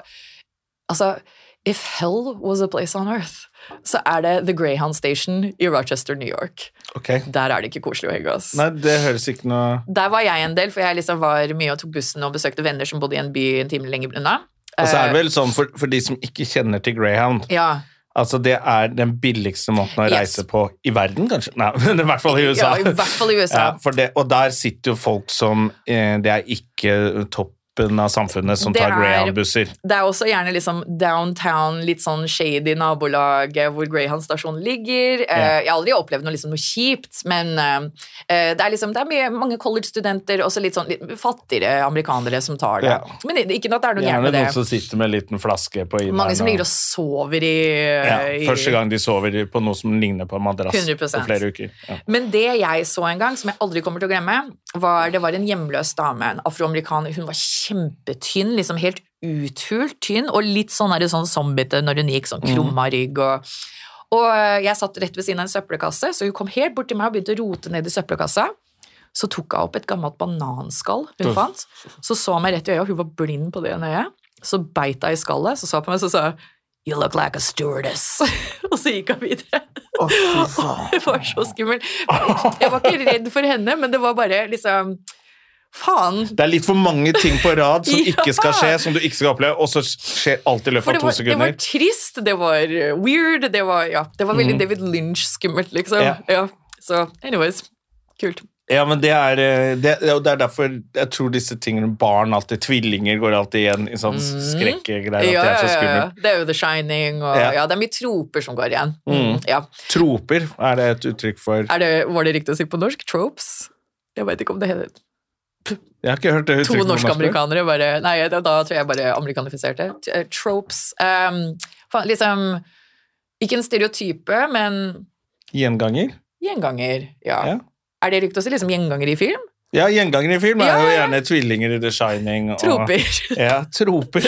Speaker 2: altså If hell was a place on earth, så er det The Greyhound Station i Rochester, New York. Der er det ikke koselig å henge oss.
Speaker 1: Nei, det høres ikke noe
Speaker 2: Der var jeg en del, for jeg liksom var mye og tok bussen og besøkte venner som bodde i en by en time lenger unna.
Speaker 1: Og så er det vel sånn for, for de som ikke kjenner til Greyhound
Speaker 2: Eh. Ja,
Speaker 1: Altså, det er den billigste måten å
Speaker 2: Yes.
Speaker 1: reise på i verden, kanskje? Nei, men i hvert fall i USA.
Speaker 2: Ja, i hvert fall i USA.
Speaker 1: Ja, for det, og der sitter jo folk som eh, Det er ikke toppen av samfunnet som
Speaker 2: Det
Speaker 1: tar
Speaker 2: er-
Speaker 1: Greyhound-busser.
Speaker 2: Det er også gjerne liksom downtown, litt sånn shady nabolag eh, hvor Greyhound stasjon ligger. Eh,
Speaker 1: Ja.
Speaker 2: Jeg har aldri opplevd noe, liksom, noe kjipt, men eh, eh, det er, liksom, det er mye, mange college-studenter, også litt sånn litt fattigere amerikanere som tar det.
Speaker 1: Ja.
Speaker 2: Men i- ikke at det er noe gærent
Speaker 1: Gjerne
Speaker 2: med det.
Speaker 1: noen som sitter med en liten flaske på inneren.
Speaker 2: Mange som ligger og sover i,
Speaker 1: ja,
Speaker 2: i
Speaker 1: Første gang de sover på noe som ligner på en madrass
Speaker 2: 100%.
Speaker 1: på flere uker. Ja.
Speaker 2: Men det jeg så en gang, som jeg aldri kommer til å glemme, var det var en hjemløs dame, en afroamerikaner. Hun var kjempetynn, liksom helt uthult tynn, og litt sånn, der, sånn zombiete når hun gikk, sånn krumma rygg og Og eh, jeg satt rett ved siden av en søppelkasse, så hun kom helt bort til meg og begynte å rote ned i søppelkassa. Så tok hun opp et gammelt bananskall hun
Speaker 1: Uff.
Speaker 2: fant, så så hun meg rett i øya, hun var blind på det ene øyet. Så beit hun i skallet, så så hun på meg, så sa hun, You look like a stewardess. og så gikk hun videre. Det var så skummelt. Jeg var ikke redd for henne, men det var bare liksom Faen!
Speaker 1: Det er litt for mange ting på rad som
Speaker 2: Ja.
Speaker 1: ikke skal skje, som du ikke skal oppleve, og så skjer alt i
Speaker 2: For
Speaker 1: løpet av to
Speaker 2: det var, det var
Speaker 1: sekunder. Mm.
Speaker 2: trist, det var eh, weird, det var, ja, det var veldig David Lynch-skummelt, liksom.
Speaker 1: Ja.
Speaker 2: Ja. Så anyways, kult.
Speaker 1: Ja, men det er, eh, det, og det er derfor jeg tror disse tingene Barn alltid, tvillinger går alltid igjen i sånn skrekkgreier. At
Speaker 2: Mm. Ja,
Speaker 1: det er så
Speaker 2: ja, ja.
Speaker 1: skummelt.
Speaker 2: Det er jo The Shining, og
Speaker 1: Ja. Mm.
Speaker 2: ja, det er mye troper som går igjen. Ja.
Speaker 1: Troper, er det et uttrykk for
Speaker 2: Er det, var det riktig å si på norsk? Tropes? Jeg vet ikke om det heter
Speaker 1: Jeg har ikke hørt det
Speaker 2: To
Speaker 1: uttrykket. på norsk før.
Speaker 2: norsk-amerikanere bare Nei, da, da tror jeg bare amerikanifiserte. T- eh, Tropes ehm, fa- Liksom Ikke en stereotype, men
Speaker 1: Gjenganger?
Speaker 2: gjenganger. Ja.
Speaker 1: Ja.
Speaker 2: Er det riktig å si liksom gjenganger i film?
Speaker 1: Ja, gjenganger i film er
Speaker 2: Ja,
Speaker 1: jo
Speaker 2: ja, ja.
Speaker 1: gjerne tvillinger i The Shining. Og,
Speaker 2: Troper.
Speaker 1: Ja, troper.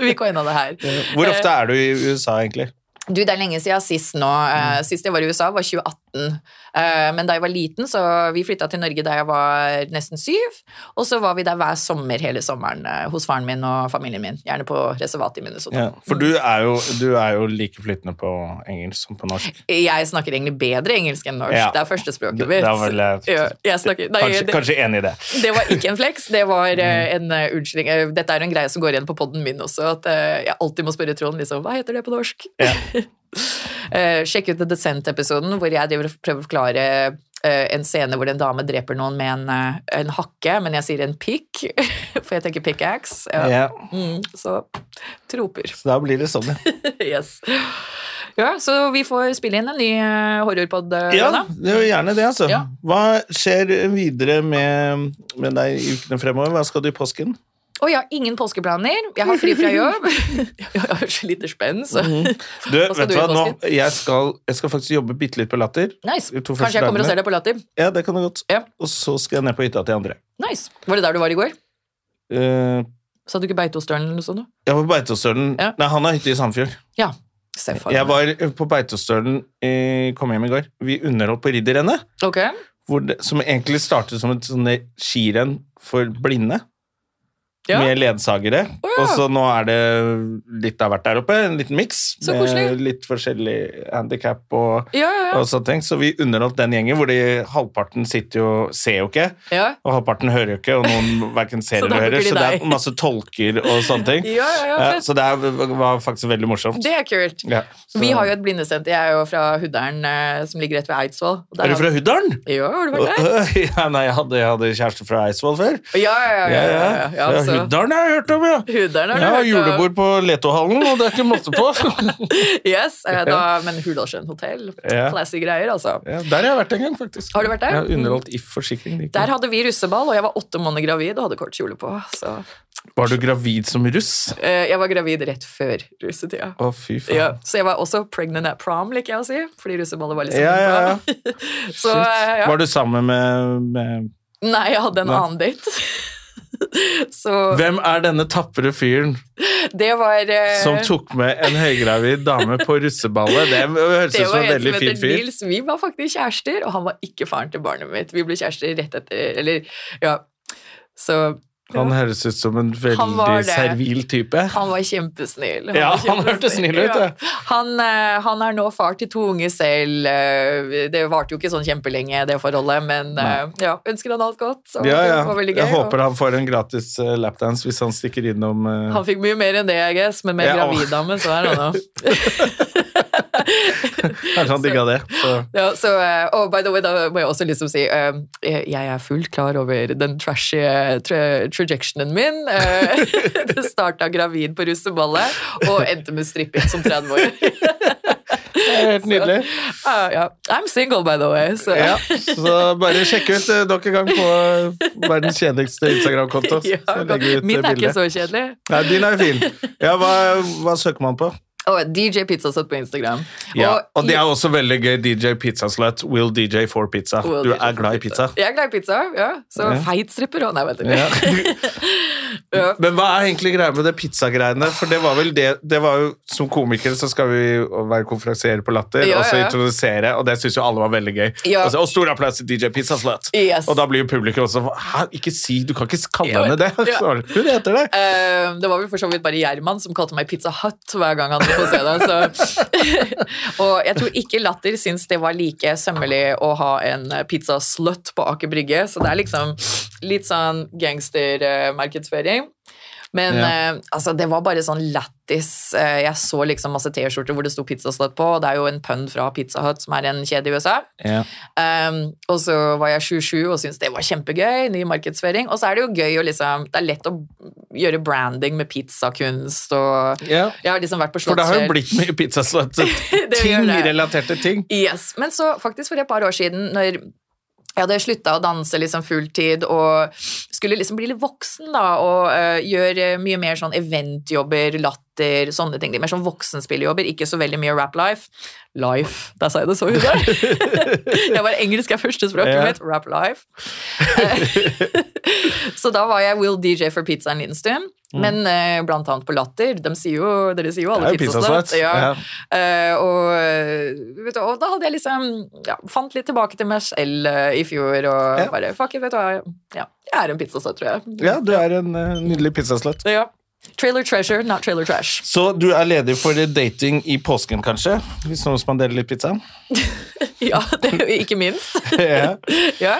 Speaker 2: Vi coina det her.
Speaker 1: Hvor ofte er du i USA, egentlig?
Speaker 2: Du, Det er lenge siden sist nå. Eh,
Speaker 1: Mm.
Speaker 2: Sist jeg var i USA, var 2018. Eh, Men da jeg var liten, så vi flytta til Norge da jeg var nesten syv. Og så var vi der hver sommer hele sommeren eh, hos faren min og familien min. Gjerne på reservatet i Minnesota.
Speaker 1: Ja, for du er, jo, du er jo like flytende på engelsk som på norsk.
Speaker 2: Jeg snakker egentlig bedre engelsk enn norsk.
Speaker 1: Ja.
Speaker 2: Det er førstespråket
Speaker 1: Det-
Speaker 2: mitt.
Speaker 1: det er vel, eh,
Speaker 2: ja, jeg snakker, nei,
Speaker 1: Kanskje, Mm.
Speaker 2: det,
Speaker 1: kanskje enig i det.
Speaker 2: det var ikke en flex, det var eh, en eh, unnskyldning. Eh, Dette er en greie som går igjen på podden min også, at eh, jeg alltid må spørre Trond liksom, hva heter det på norsk? Eh, Sjekk ut The Descent-episoden, hvor jeg driver og prøver å forklare eh, en scene hvor en dame dreper noen med en, eh, en hakke, men jeg sier en pick, for jeg tenker pickaxe. Ja.
Speaker 1: Ja,
Speaker 2: Mm, så troper.
Speaker 1: så da blir det sånn, ja.
Speaker 2: Yes. Ja, så vi får spille inn en ny eh, horrorpod. eh,
Speaker 1: Ja,
Speaker 2: Anna.
Speaker 1: det er jo gjerne det, altså.
Speaker 2: Ja.
Speaker 1: Hva skjer videre med, med deg i ukene fremover? Hva skal du i påsken?
Speaker 2: Å ja, ingen påskeplaner. Jeg har fri fra jobb. Jeg har så lite spenn, så
Speaker 1: Mhm. Du,
Speaker 2: Hva skal
Speaker 1: vet du
Speaker 2: du i
Speaker 1: hva, nå,
Speaker 2: påsken?
Speaker 1: jeg skal, jeg skal faktisk jobbe bitte litt på Latter.
Speaker 2: Nice.
Speaker 1: De to første
Speaker 2: Kanskje jeg kommer og
Speaker 1: dagene.
Speaker 2: ser deg på Latter.
Speaker 1: Ja, det kan du godt.
Speaker 2: Ja.
Speaker 1: Og så skal jeg ned på hytta til andre.
Speaker 2: Nice. Var det der du var i går?
Speaker 1: Eh,
Speaker 2: Sa du ikke Beitostølen eller noe sånt? nå?
Speaker 1: jeg var på Beitostølen
Speaker 2: Ja.
Speaker 1: Nei, han har hytte i Sandfjord.
Speaker 2: Ja. Se for
Speaker 1: Jeg
Speaker 2: meg.
Speaker 1: var på Beitostølen i, kom hjem i går. Vi underholdt på Ridderrennet,
Speaker 2: Ok.
Speaker 1: hvor det- som egentlig startet som et sånne skirenn for blinde.
Speaker 2: Ja.
Speaker 1: Med ledsagere.
Speaker 2: Å, ja.
Speaker 1: Og så nå er det litt av hvert der oppe. En liten miks.
Speaker 2: Så
Speaker 1: Med
Speaker 2: koselig.
Speaker 1: litt forskjellig handikap og,
Speaker 2: Ja, ja, ja.
Speaker 1: og sånne ting. Så vi underholdt den gjengen, hvor de, halvparten sitter jo ser jo ikke.
Speaker 2: ja.
Speaker 1: Og halvparten hører jo ikke, og noen hverken ser
Speaker 2: Så da
Speaker 1: eller hører.
Speaker 2: bruker de
Speaker 1: Så det
Speaker 2: deg.
Speaker 1: er masse tolker og sånne ting.
Speaker 2: Ja, ja, ja, fett.
Speaker 1: så det er, var faktisk veldig morsomt.
Speaker 2: Det er kult.
Speaker 1: Ja, så-
Speaker 2: Vi har jo et blindesenter. Jeg er jo fra Huddern, eh, som ligger rett ved Eidsvoll. Og der
Speaker 1: Er du
Speaker 2: har-
Speaker 1: fra Huddalen?
Speaker 2: Ja, har du vært der?
Speaker 1: Ja, nei, jeg hadde, jeg hadde kjæreste fra Eidsvoll før.
Speaker 2: Ja, ja, ja.
Speaker 1: Ja,
Speaker 2: ja, ja, ja.
Speaker 1: Ja,
Speaker 2: så-
Speaker 1: Huddalen har jeg hørt om, ja.
Speaker 2: Huddern har du
Speaker 1: ja,
Speaker 2: hørt om.
Speaker 1: julebord på Letohallen, og det er ikke måte på.
Speaker 2: Yes, eh, da, men Hurdalssjøen hotell.
Speaker 1: Ja.
Speaker 2: Classy greier, altså.
Speaker 1: ja, der har jeg vært en gang, faktisk.
Speaker 2: Har du vært der?
Speaker 1: Jeg har underholdt i forsikring. det gikk
Speaker 2: Der
Speaker 1: bra.
Speaker 2: hadde vi russeball, og jeg var åtte måneder gravid og hadde kort kjole på. Så
Speaker 1: Var du gravid som russ?
Speaker 2: eh, jeg var gravid rett før russetida.
Speaker 1: Å, fy faen.
Speaker 2: Ja, så jeg var også pregnant at prom, liker jeg å si. Fordi russeballet var liksom
Speaker 1: Ja, ja, ja.
Speaker 2: prom. så eh, ja.
Speaker 1: Var du sammen med, med
Speaker 2: Nei, jeg hadde en
Speaker 1: Nei.
Speaker 2: annen date. så
Speaker 1: Hvem er denne tapre fyren
Speaker 2: det var eh,
Speaker 1: som tok med en høygravid dame på russeballet? Det høres
Speaker 2: det
Speaker 1: ut som
Speaker 2: var
Speaker 1: en
Speaker 2: en som
Speaker 1: veldig
Speaker 2: heter
Speaker 1: fin fyr.
Speaker 2: Nils. Vi var faktisk kjærester, og han var ikke faren til barnet mitt. Vi ble kjærester rett etter Eller, ja. Så
Speaker 1: Han høres ut som en
Speaker 2: Han var
Speaker 1: veldig
Speaker 2: det.
Speaker 1: servil type.
Speaker 2: han var kjempesnill.
Speaker 1: Ja,
Speaker 2: var
Speaker 1: han hørtes
Speaker 2: kjempesnill,
Speaker 1: snill ut,
Speaker 2: ja.
Speaker 1: ja.
Speaker 2: Han, eh, han er nå far til to unger selv. eh, Det varte jo ikke sånn kjempelenge, det forholdet, men eh, ja, ønsker han alt godt. Så
Speaker 1: Ja,
Speaker 2: Det var
Speaker 1: ja.
Speaker 2: veldig gøy.
Speaker 1: Jeg
Speaker 2: og-
Speaker 1: håper han får en gratis eh, lapdance hvis han stikker innom eh,
Speaker 2: Han fikk mye mer enn det, jeg guess, men med
Speaker 1: Ja, og-
Speaker 2: graviddame, så er han nå.
Speaker 1: Kanskje han digga det. Så.
Speaker 2: Ja, så, eh, oh, by the way, da må jeg også liksom si eh, Jeg er fullt klar over den trashy eh, tra trajectionen min. Eh, det starta gravid på russeballet og endte med stripping som 30-åring.
Speaker 1: Det er helt nydelig.
Speaker 2: Ah, ja. I'm single, by the way. Så.
Speaker 1: Ja, så bare sjekk ut eh, nok en gang på eh, verdens kjedeligste Instagram-konto.
Speaker 2: Ja,
Speaker 1: Så legger vi ut
Speaker 2: min
Speaker 1: eh,
Speaker 2: er ikke
Speaker 1: bildet.
Speaker 2: så kjedelig.
Speaker 1: Nei, din er jo fin. Ja, hva, hva søker man på?
Speaker 2: Og DJ Pizzasøtt på Instagram.
Speaker 1: Ja, og det
Speaker 2: i-
Speaker 1: er også veldig gøy. DJ Pizza Slut. Will DJ for pizza.
Speaker 2: Will
Speaker 1: Du
Speaker 2: DJ for
Speaker 1: er glad i pizza.
Speaker 2: Jeg er glad i pizza, ja. Så
Speaker 1: Ja.
Speaker 2: feit stripper òg. Nei, vet du.
Speaker 1: Ja.
Speaker 2: Ja.
Speaker 1: Men hva er egentlig greia med det pizzagreiene? For det var vel det, det var jo, Som komikere så skal vi jo være konferansiere på Latter,
Speaker 2: Ja,
Speaker 1: og så
Speaker 2: ja.
Speaker 1: introdusere, og det syns jo alle var veldig gøy.
Speaker 2: Ja.
Speaker 1: Og, så, og stor applaus til DJ Pizza Slut.
Speaker 2: Yes.
Speaker 1: Og da blir jo publikum også Hæ, ikke si Du kan ikke kalle
Speaker 2: Ja,
Speaker 1: henne det!
Speaker 2: ja.
Speaker 1: Så, hun heter det!
Speaker 2: Eh, det var vel for så vidt bare Gjerman som kalte meg Pizza Hut hver gang han var på scenen. Så. og jeg tror ikke Latter syns det var like sømmelig å ha en eh, pizza slut på Aker Brygge, så det er liksom litt sånn gangstermarkedsføring. Men
Speaker 1: Ja.
Speaker 2: eh, altså, det var bare sånn lættis. Eh, jeg så liksom masse T-skjorter hvor det sto Pizza Hut på, og det er jo en pønn fra Pizza Hut, som er en kjede i USA.
Speaker 1: Ja.
Speaker 2: Um, og så var jeg 27 og syntes det var kjempegøy. Ny markedsføring. Og så er det jo gøy å liksom Det er lett å gjøre branding med pizzakunst og
Speaker 1: Ja.
Speaker 2: Jeg har liksom vært på
Speaker 1: For det har jo
Speaker 2: Slottsfjell.
Speaker 1: blitt mye
Speaker 2: Det
Speaker 1: pizzasøtt-ting,
Speaker 2: gjør det.
Speaker 1: relaterte ting.
Speaker 2: Yes. Men så faktisk for et par år siden, når jeg hadde slutta å danse liksom fulltid og skulle liksom bli litt voksen da, og eh, gjøre mye mer sånn eventjobber, latter, sånne ting. Litt Mer sånn voksenspilljobber, ikke så veldig mye rap life. Life, der sa jeg det så ut der. jeg var engelsk er førstespråket
Speaker 1: Ja.
Speaker 2: mitt, rap life. Eh, så da var jeg Will DJ for pizza en liten stund. Men eh, blant annet på Latter. De sier jo, dere sier jo
Speaker 1: Mm. Det er
Speaker 2: alle
Speaker 1: jo
Speaker 2: pizza
Speaker 1: pizzasøtt,
Speaker 2: slut. Ja.
Speaker 1: ja.
Speaker 2: Eh, og, eh, vet du, og da hadde jeg liksom ja, Fant litt tilbake til meg selv eh, i fjor og
Speaker 1: Ja.
Speaker 2: bare Fuck it, vet du hva. Ja, jeg er en pizzasøt, tror jeg.
Speaker 1: Ja, du er en eh, nydelig pizzasøtt.
Speaker 2: Så ja. Trailer treasure, not trailer trash.
Speaker 1: Så du er ledig for dating i påsken, kanskje? Hvis noen spanderer litt pizza?
Speaker 2: Ja, det, ikke minst.
Speaker 1: Ja.
Speaker 2: ja.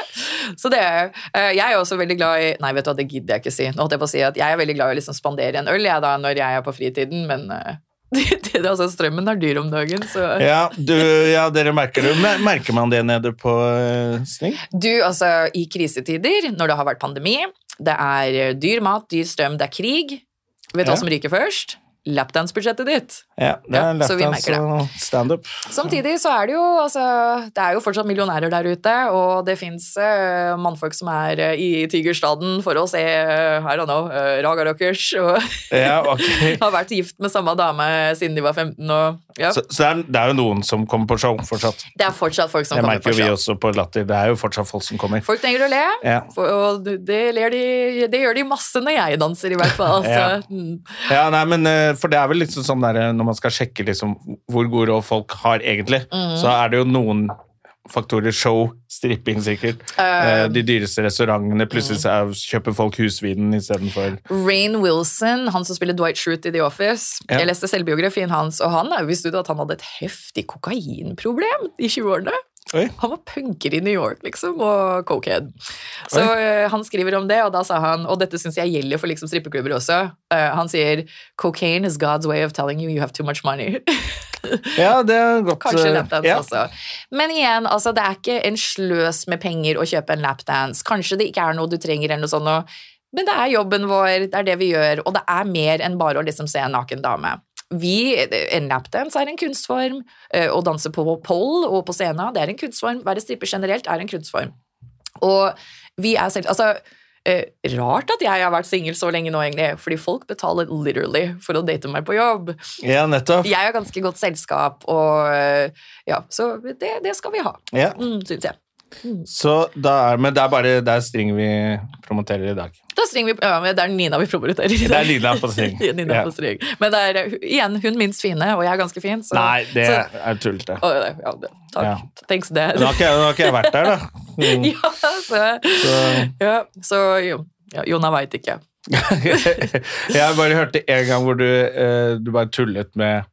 Speaker 2: Så det er eh, Jeg er også veldig glad i Nei, vet du hva, det gidder jeg ikke si. Nå holdt jeg på å si at jeg er veldig glad i å liksom spandere en øl jeg da, når jeg er på fritiden, men eh, det, det, altså, strømmen er dyr om dagen, så
Speaker 1: Ja, du, ja, dere merker det. Mer- Merker man det nede på eh, Sting?
Speaker 2: Du, altså, i krisetider, når det har vært pandemi, det er eh, dyr mat, dyr strøm, det er krig. Vet du
Speaker 1: Ja.
Speaker 2: hva som ryker først? Lapdance-budsjettet ditt.
Speaker 1: Ja, det
Speaker 2: Ja,
Speaker 1: er
Speaker 2: så vi
Speaker 1: lapdance
Speaker 2: merker
Speaker 1: og standup.
Speaker 2: Samtidig så er det jo, altså, det er jo fortsatt millionærer der ute, og det fins mannfolk som er eh, i tigerstaden for å se eh, I don't know, eh, Raga Rockers, og
Speaker 1: Ja, ok.
Speaker 2: har vært gift med samme dame siden de var 15. og ja.
Speaker 1: Så, så det, er, det er jo noen som kommer på show fortsatt.
Speaker 2: Det er fortsatt folk som
Speaker 1: Det
Speaker 2: kommer
Speaker 1: merker jo
Speaker 2: på
Speaker 1: vi
Speaker 2: show.
Speaker 1: også på Latter. Det er jo fortsatt folk som kommer.
Speaker 2: Folk trenger å le,
Speaker 1: Ja.
Speaker 2: for, og det, ler de, det gjør de masse når jeg danser, i hvert fall.
Speaker 1: Ja.
Speaker 2: Altså, mm.
Speaker 1: Ja, nei, men eh, For det er vel liksom sånn der, eh, når man skal sjekke liksom hvor gode råd folk har egentlig,
Speaker 2: Mm.
Speaker 1: så er det jo noen faktorer. Show, stripping sikkert.
Speaker 2: Um.
Speaker 1: Eh, de dyreste restaurantene.
Speaker 2: Mm.
Speaker 1: Plutselig så er- kjøper folk husvinen istedenfor.
Speaker 2: Rain Wilson, han som spiller Dwight Schrute i The Office.
Speaker 1: Ja.
Speaker 2: Jeg leste selvbiografien hans, og han er jo visst ut at han hadde et heftig kokainproblem i 20-årene.
Speaker 1: Oi.
Speaker 2: Han var punker i New York, liksom, og cokehead. Så eh, han skriver om det, og da sa han, og dette syns jeg gjelder for liksom strippeklubber også, eh, han sier cocaine is God's way of telling you you have too much money.
Speaker 1: Ja, det er godt.
Speaker 2: Kanskje
Speaker 1: eh,
Speaker 2: lapdance
Speaker 1: ja.
Speaker 2: også. Men igjen, altså, det er ikke en sløs med penger å kjøpe en lapdance. Kanskje det ikke er noe du trenger, eller noe sånt. og- Men det er jobben vår, det er det vi gjør, og det er mer enn bare å liksom se en naken dame. Vi, En lapdance er en kunstform. eh, Å danse på poll og på scenen, det er en kunstform. Være stripper generelt er en kunstform. Og vi er selv... Altså, eh, rart at jeg har vært singel så lenge nå, egentlig, fordi folk betaler literally for å date meg på jobb
Speaker 1: Ja, nettopp.
Speaker 2: jeg har ganske godt selskap, og øh, ja, så det, det skal vi ha,
Speaker 1: Ja.
Speaker 2: mm, syns jeg.
Speaker 1: Så da er, men det er bare det er string vi promoterer i dag.
Speaker 2: Da stringer vi, ja, men det er Nina vi promoterer i dag.
Speaker 1: Det er Nina på string. Ja.
Speaker 2: Nina på string. Men det er øh, igjen hun minst fine, og jeg er ganske fin, så
Speaker 1: Nei, det
Speaker 2: så-
Speaker 1: er tullete.
Speaker 2: Å, ja, ja, det- takk.
Speaker 1: Ja.
Speaker 2: Thanks, det.
Speaker 1: Nå har ikke, jeg- nå har ikke jeg vært der, da. Mm.
Speaker 2: ja, så, ja, så jo. Ja, Jonna veit ikke.
Speaker 1: jeg bare hørte en gang hvor du, eh, du bare tullet med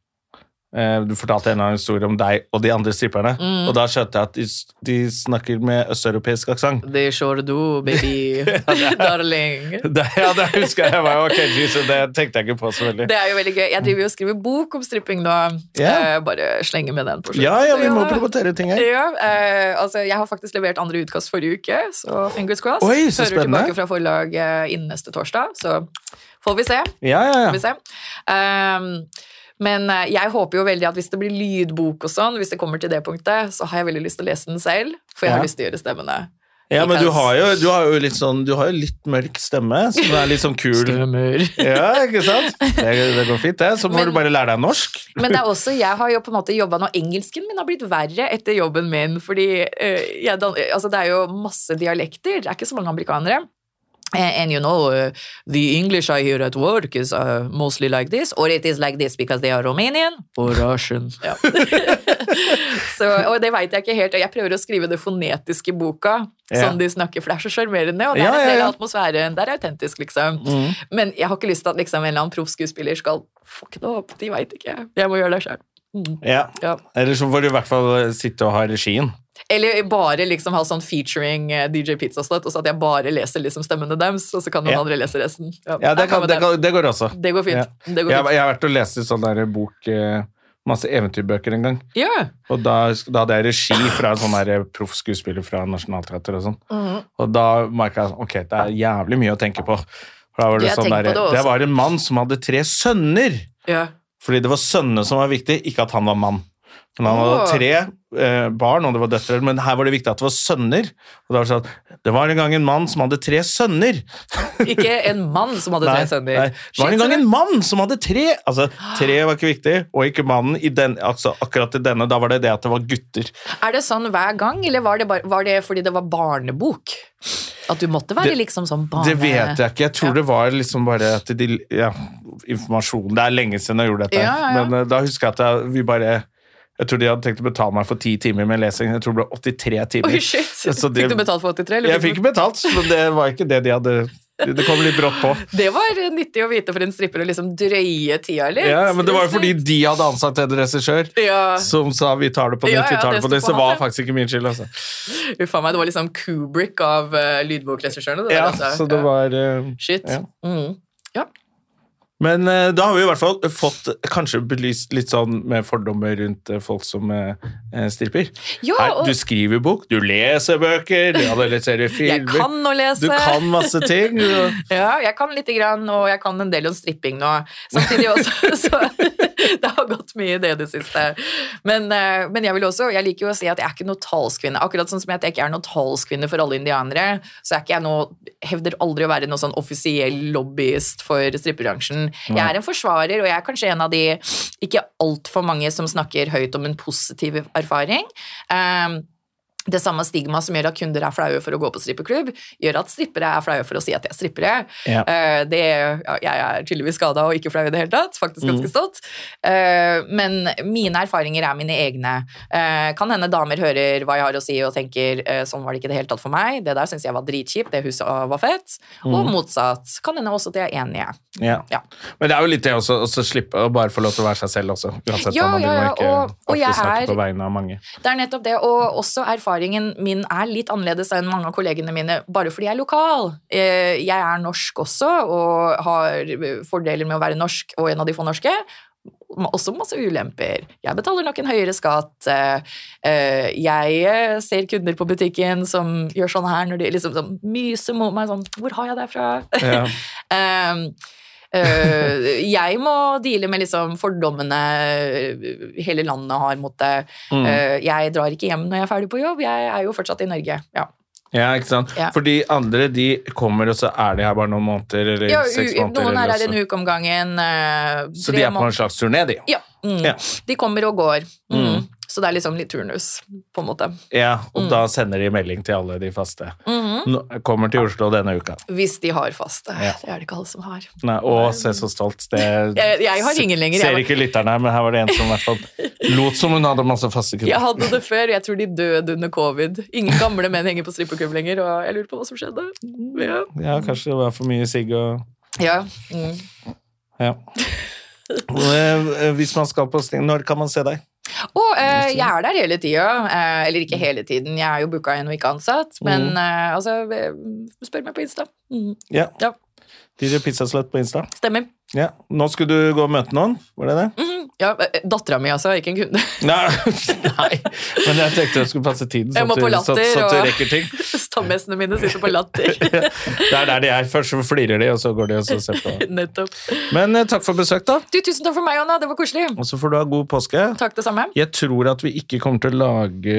Speaker 1: eh, Du fortalte en eller annen historie om deg og de andre stripperne, og da skjønte jeg at de, s- de snakker med østeuropeisk aksent.
Speaker 2: Det sure do, baby. Darling.
Speaker 1: Det, ja, det husker jeg. jeg bare, ok, Jesus, det tenkte jeg ikke på så veldig.
Speaker 2: Det er jo veldig gøy. Jeg driver jo og skriver bok om stripping nå.
Speaker 1: Ja.
Speaker 2: Eh, Bare slenger med den på slutten.
Speaker 1: Ja, ja, vi må
Speaker 2: Ja.
Speaker 1: promotere ting her.
Speaker 2: Ja, eh, altså Jeg har faktisk levert andre utkast forrige uke, så fingers crossed.
Speaker 1: Oi, så
Speaker 2: Hører
Speaker 1: spennende.
Speaker 2: tilbake fra forlag eh, innen neste torsdag, så får vi se.
Speaker 1: Ja, ja,
Speaker 2: Får vi
Speaker 1: ja.
Speaker 2: se. Ehm, men eh, jeg håper jo veldig at hvis det blir lydbok og sånn, hvis det kommer til det punktet, så har jeg veldig lyst til å lese den selv, for jeg har
Speaker 1: Ja.
Speaker 2: lyst til å gjøre stemmene.
Speaker 1: ja men du har, jo, du har jo litt sånn Du har jo litt mørk stemme, som er litt sånn kul.
Speaker 2: Stemmer.
Speaker 1: Ja, ikke sant? Det, det går fint, det. Så må
Speaker 2: Men-
Speaker 1: du bare lære deg norsk.
Speaker 2: Men det er også, jeg har jo på en måte jobba nå Engelsken min har blitt verre etter jobben min. Fordi eh, jeg, dan- eh, altså, det er jo masse dialekter. Det er ikke så mange amerikanere. Eh, And you know, eh, the English I hear at work is eh, mostly like this, or it is like this because they are Romanian or Russian. Ja. så, og det veit jeg ikke helt. og Jeg prøver å skrive det fonetiske i boka,
Speaker 1: Ja.
Speaker 2: som de snakker, for det er så sjarmerende, og det
Speaker 1: Ja,
Speaker 2: er en
Speaker 1: ja,
Speaker 2: del
Speaker 1: ja. Mm.
Speaker 2: av atmosfæren. Det er autentisk, liksom. Men jeg har ikke lyst til at liksom, en eller annen proffskuespiller skal fucke det opp. De veit ikke. Jeg må gjøre det sjøl.
Speaker 1: Ja.
Speaker 2: Ja.
Speaker 1: Eller så får du i hvert fall sitte og ha regien.
Speaker 2: Eller bare liksom ha sånn featuring eh, DJ Pizzasnøtt, og så at jeg bare leser liksom stemmene deres, og så kan noen
Speaker 1: Ja.
Speaker 2: andre lese resten.
Speaker 1: Ja, det,
Speaker 2: jeg
Speaker 1: kan, det,
Speaker 2: kan med
Speaker 1: kan, det går også.
Speaker 2: Det går fint.
Speaker 1: Ja.
Speaker 2: Det går
Speaker 1: Jeg,
Speaker 2: fint.
Speaker 1: jeg har vært og lest en sånn der bok eh, Masse eventyrbøker en gang.
Speaker 2: Ja.
Speaker 1: Og da, da hadde jeg regi fra en sånn der proff skuespiller fra Nationaltheatret og sånn.
Speaker 2: Mm.
Speaker 1: Og da merka jeg sånn Ok, det er jævlig mye å tenke på. For da var det,
Speaker 2: Jeg
Speaker 1: sånn
Speaker 2: tenker
Speaker 1: der,
Speaker 2: på det
Speaker 1: det
Speaker 2: også.
Speaker 1: var en mann som hadde tre sønner.
Speaker 2: Ja.
Speaker 1: Fordi det var sønnene som var viktig, ikke at han var mann. Men han
Speaker 2: Åh.
Speaker 1: hadde tre eh, barn, og det var døtre, men her var det viktig at det var sønner. Og da var det sånn, det var en gang en mann som hadde tre sønner.
Speaker 2: Ikke en mann som hadde tre sønner.
Speaker 1: nei. Det var en gang en mann som hadde tre! Altså, tre var ikke viktig, og ikke mannen i den, altså, akkurat i denne. Da var det det at det var gutter.
Speaker 2: Er det sånn hver gang, eller var det, bare, var det fordi det var barnebok? At du måtte være
Speaker 1: Det-
Speaker 2: liksom sånn barne...
Speaker 1: Det vet jeg ikke. Jeg tror det var liksom bare at de Ja, informasjon Det er lenge siden jeg gjorde dette,
Speaker 2: Ja, ja, ja.
Speaker 1: men eh, da husker jeg at jeg, vi bare jeg tror de hadde tenkt å betale meg for ti timer med lesing. Jeg tror det ble 83 timer.
Speaker 2: Oi, shit!
Speaker 1: Så det-
Speaker 2: Fikk du betalt for 83? eller
Speaker 1: Jeg fikk betalt, men det var ikke det de hadde Det kom litt brått på.
Speaker 2: Det var nyttig å vite for en stripper å liksom drøye tida litt.
Speaker 1: Ja, men det var jo fordi de hadde ansatt en regissør
Speaker 2: Ja.
Speaker 1: som sa 'vi tar det på nytt',
Speaker 2: Ja, ja,
Speaker 1: vi tar det
Speaker 2: det
Speaker 1: på nytt.
Speaker 2: sto
Speaker 1: Så
Speaker 2: på
Speaker 1: det var
Speaker 2: han, ja.
Speaker 1: faktisk ikke min skyld, altså.
Speaker 2: Uff a meg, det var liksom Kubrick av eh, lydbokregissørene. det der,
Speaker 1: Ja,
Speaker 2: altså.
Speaker 1: så det
Speaker 2: Ja.
Speaker 1: var eh,
Speaker 2: Shit.
Speaker 1: ja.
Speaker 2: Mm. Ja.
Speaker 1: Men eh, da har vi i hvert fall fått kanskje belyst litt sånn med fordommer rundt eh, folk som eh, eh, stripper.
Speaker 2: Ja,
Speaker 1: Her,
Speaker 2: og-
Speaker 1: du skriver bok, du leser bøker, du analyserer
Speaker 2: Jeg
Speaker 1: filmer.
Speaker 2: kan å lese.
Speaker 1: Du kan masse ting. og-
Speaker 2: Ja, jeg kan lite grann, og jeg kan en del om stripping nå. Samtidig også, så det har gått mye i det i det siste. Men, eh, men jeg vil også, jeg liker jo å si at jeg er ikke noe talskvinne. Akkurat sånn som jeg at jeg ikke er noe talskvinne for alle indianere, så er ikke jeg noe, hevder aldri å være noe sånn offisiell lobbyist for strippebransjen. Jeg er en forsvarer, og jeg er kanskje en av de ikke altfor mange som snakker høyt om en positiv erfaring. Um, det samme stigmaet som gjør at kunder er flaue for å gå på strippeklubb, gjør at strippere er flaue for å si at de er strippere.
Speaker 1: Ja.
Speaker 2: Eh, det, ja, jeg er tydeligvis skada og ikke flau i det hele tatt, faktisk ganske stolt. Eh, men mine erfaringer er mine egne. Eh, kan hende damer hører hva jeg har å si og tenker eh, sånn var det ikke i det hele tatt for meg, det der syns jeg var dritkjipt, det huset var fett. Og motsatt. Kan hende også at de er enige.
Speaker 1: Ja.
Speaker 2: Ja.
Speaker 1: Men det er jo litt det også, å slippe å bare få lov til å være seg selv også. Uansett
Speaker 2: Ja,
Speaker 1: om man
Speaker 2: ja,
Speaker 1: må
Speaker 2: ja,
Speaker 1: ikke
Speaker 2: og- og jeg
Speaker 1: alltid snakke
Speaker 2: er-
Speaker 1: på vegne av mange.
Speaker 2: Det er nettopp det, og også erfaringen min er litt annerledes enn mange av kollegene mine, bare fordi jeg er lokal. Eh, Jeg er norsk også, og har eh, fordeler med å være norsk, og en av de få norske. Ma- Også masse ulemper. Jeg betaler nok en høyere skatt. eh, eh, Jeg eh, ser kunder på butikken som gjør sånn her, når de liksom sånn, myser mot meg sånn Hvor har jeg deg fra?
Speaker 1: Ja.
Speaker 2: Um, øh, jeg må deale med liksom fordommene øh, hele landet har mot det.
Speaker 1: Mm.
Speaker 2: Øh, jeg drar ikke hjem når jeg er ferdig på jobb, jeg er jo fortsatt i Norge. Ja,
Speaker 1: Ja, ikke sant?
Speaker 2: Ja.
Speaker 1: For de andre de kommer, og så er de her bare noen måneder eller
Speaker 2: ja u
Speaker 1: seks måneder.
Speaker 2: Noen er
Speaker 1: eller
Speaker 2: her en
Speaker 1: så.
Speaker 2: uke om gangen. øh,
Speaker 1: Så
Speaker 2: tre
Speaker 1: de er på
Speaker 2: måned-
Speaker 1: en slags turné, de.
Speaker 2: ja, mm.
Speaker 1: Ja.
Speaker 2: De kommer og går. Mm. Så det er liksom litt turnus, på en måte.
Speaker 1: Ja,
Speaker 2: Mm.
Speaker 1: og da sender de melding til alle de faste.
Speaker 2: Mhm.
Speaker 1: Nå- Kommer til Oslo denne uka.
Speaker 2: Hvis de har faste.
Speaker 1: Ja.
Speaker 2: Det er det ikke alle som har.
Speaker 1: Nei, å, se så stolt. Det
Speaker 2: Jeg, jeg har ingen lenger.
Speaker 1: ser
Speaker 2: Jeg,
Speaker 1: ikke lytteren her, men her var det en som i hvert fall lot som hun hadde masse faste
Speaker 2: jeg
Speaker 1: kunder.
Speaker 2: hadde det før, jeg tror de døde under covid. Ingen gamle menn henger på strippeklubb lenger, og jeg lurer på hva som skjedde. Ja.
Speaker 1: Ja, kanskje det var for mye sigg og
Speaker 2: Ja. Mm.
Speaker 1: Ja. Og, eh, Hvis man skal på sting, når kan man se deg?
Speaker 2: Og eh, jeg er der hele tida. Eh, eller
Speaker 1: Mm.
Speaker 2: ikke hele tiden, jeg er jo booka inn og ikke ansatt. Men eh, altså, eh, spør meg på Insta. Mm.
Speaker 1: Ja,
Speaker 2: Ja,
Speaker 1: DJ Pizzaslut på Insta.
Speaker 2: stemmer.
Speaker 1: Ja. Nå skulle du gå og møte noen, var det det?
Speaker 2: Mm. Ja, Dattera mi, altså, ikke en kunde.
Speaker 1: Nei. Nei, men jeg tenkte jeg skulle passe tiden
Speaker 2: Jeg
Speaker 1: sånn
Speaker 2: må
Speaker 1: at
Speaker 2: på
Speaker 1: du, så,
Speaker 2: latter,
Speaker 1: så at du
Speaker 2: og-
Speaker 1: rekker ting.
Speaker 2: Stamgjestene mine sitter på latter.
Speaker 1: Det er der de er. Først så flirer de, og så går de og så ser på.
Speaker 2: Nettopp.
Speaker 1: Men eh, takk for besøk, da.
Speaker 2: Du, tusen takk for meg, Anna. Det var koselig.
Speaker 1: Og så får du ha god påske.
Speaker 2: Takk, det samme.
Speaker 1: Jeg tror at vi ikke kommer til å lage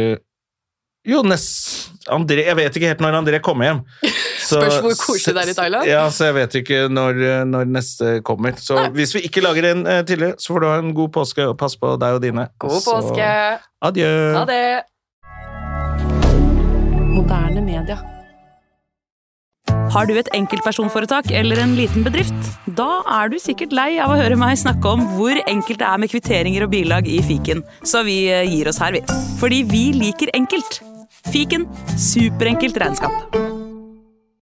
Speaker 1: Jo, nest André Jeg vet ikke helt når André kommer hjem. Så-
Speaker 2: Spørs hvor koselig det er i Thailand.
Speaker 1: Ja, så jeg vet ikke når, eh, når neste kommer. Så hvis vi ikke lager en eh, tidligere, så får du ha en god påske, og pass på deg og dine.
Speaker 2: God
Speaker 1: Så-
Speaker 2: påske.
Speaker 1: Adjø.
Speaker 2: Ha det.
Speaker 3: Moderne media.
Speaker 4: Har du et enkeltpersonforetak eller en liten bedrift? Da er du sikkert lei av å høre meg snakke om hvor enkelt det er med kvitteringer og bilag i fiken, så vi eh, gir oss her, vi. Fordi vi liker enkelt. Fiken superenkelt regnskap.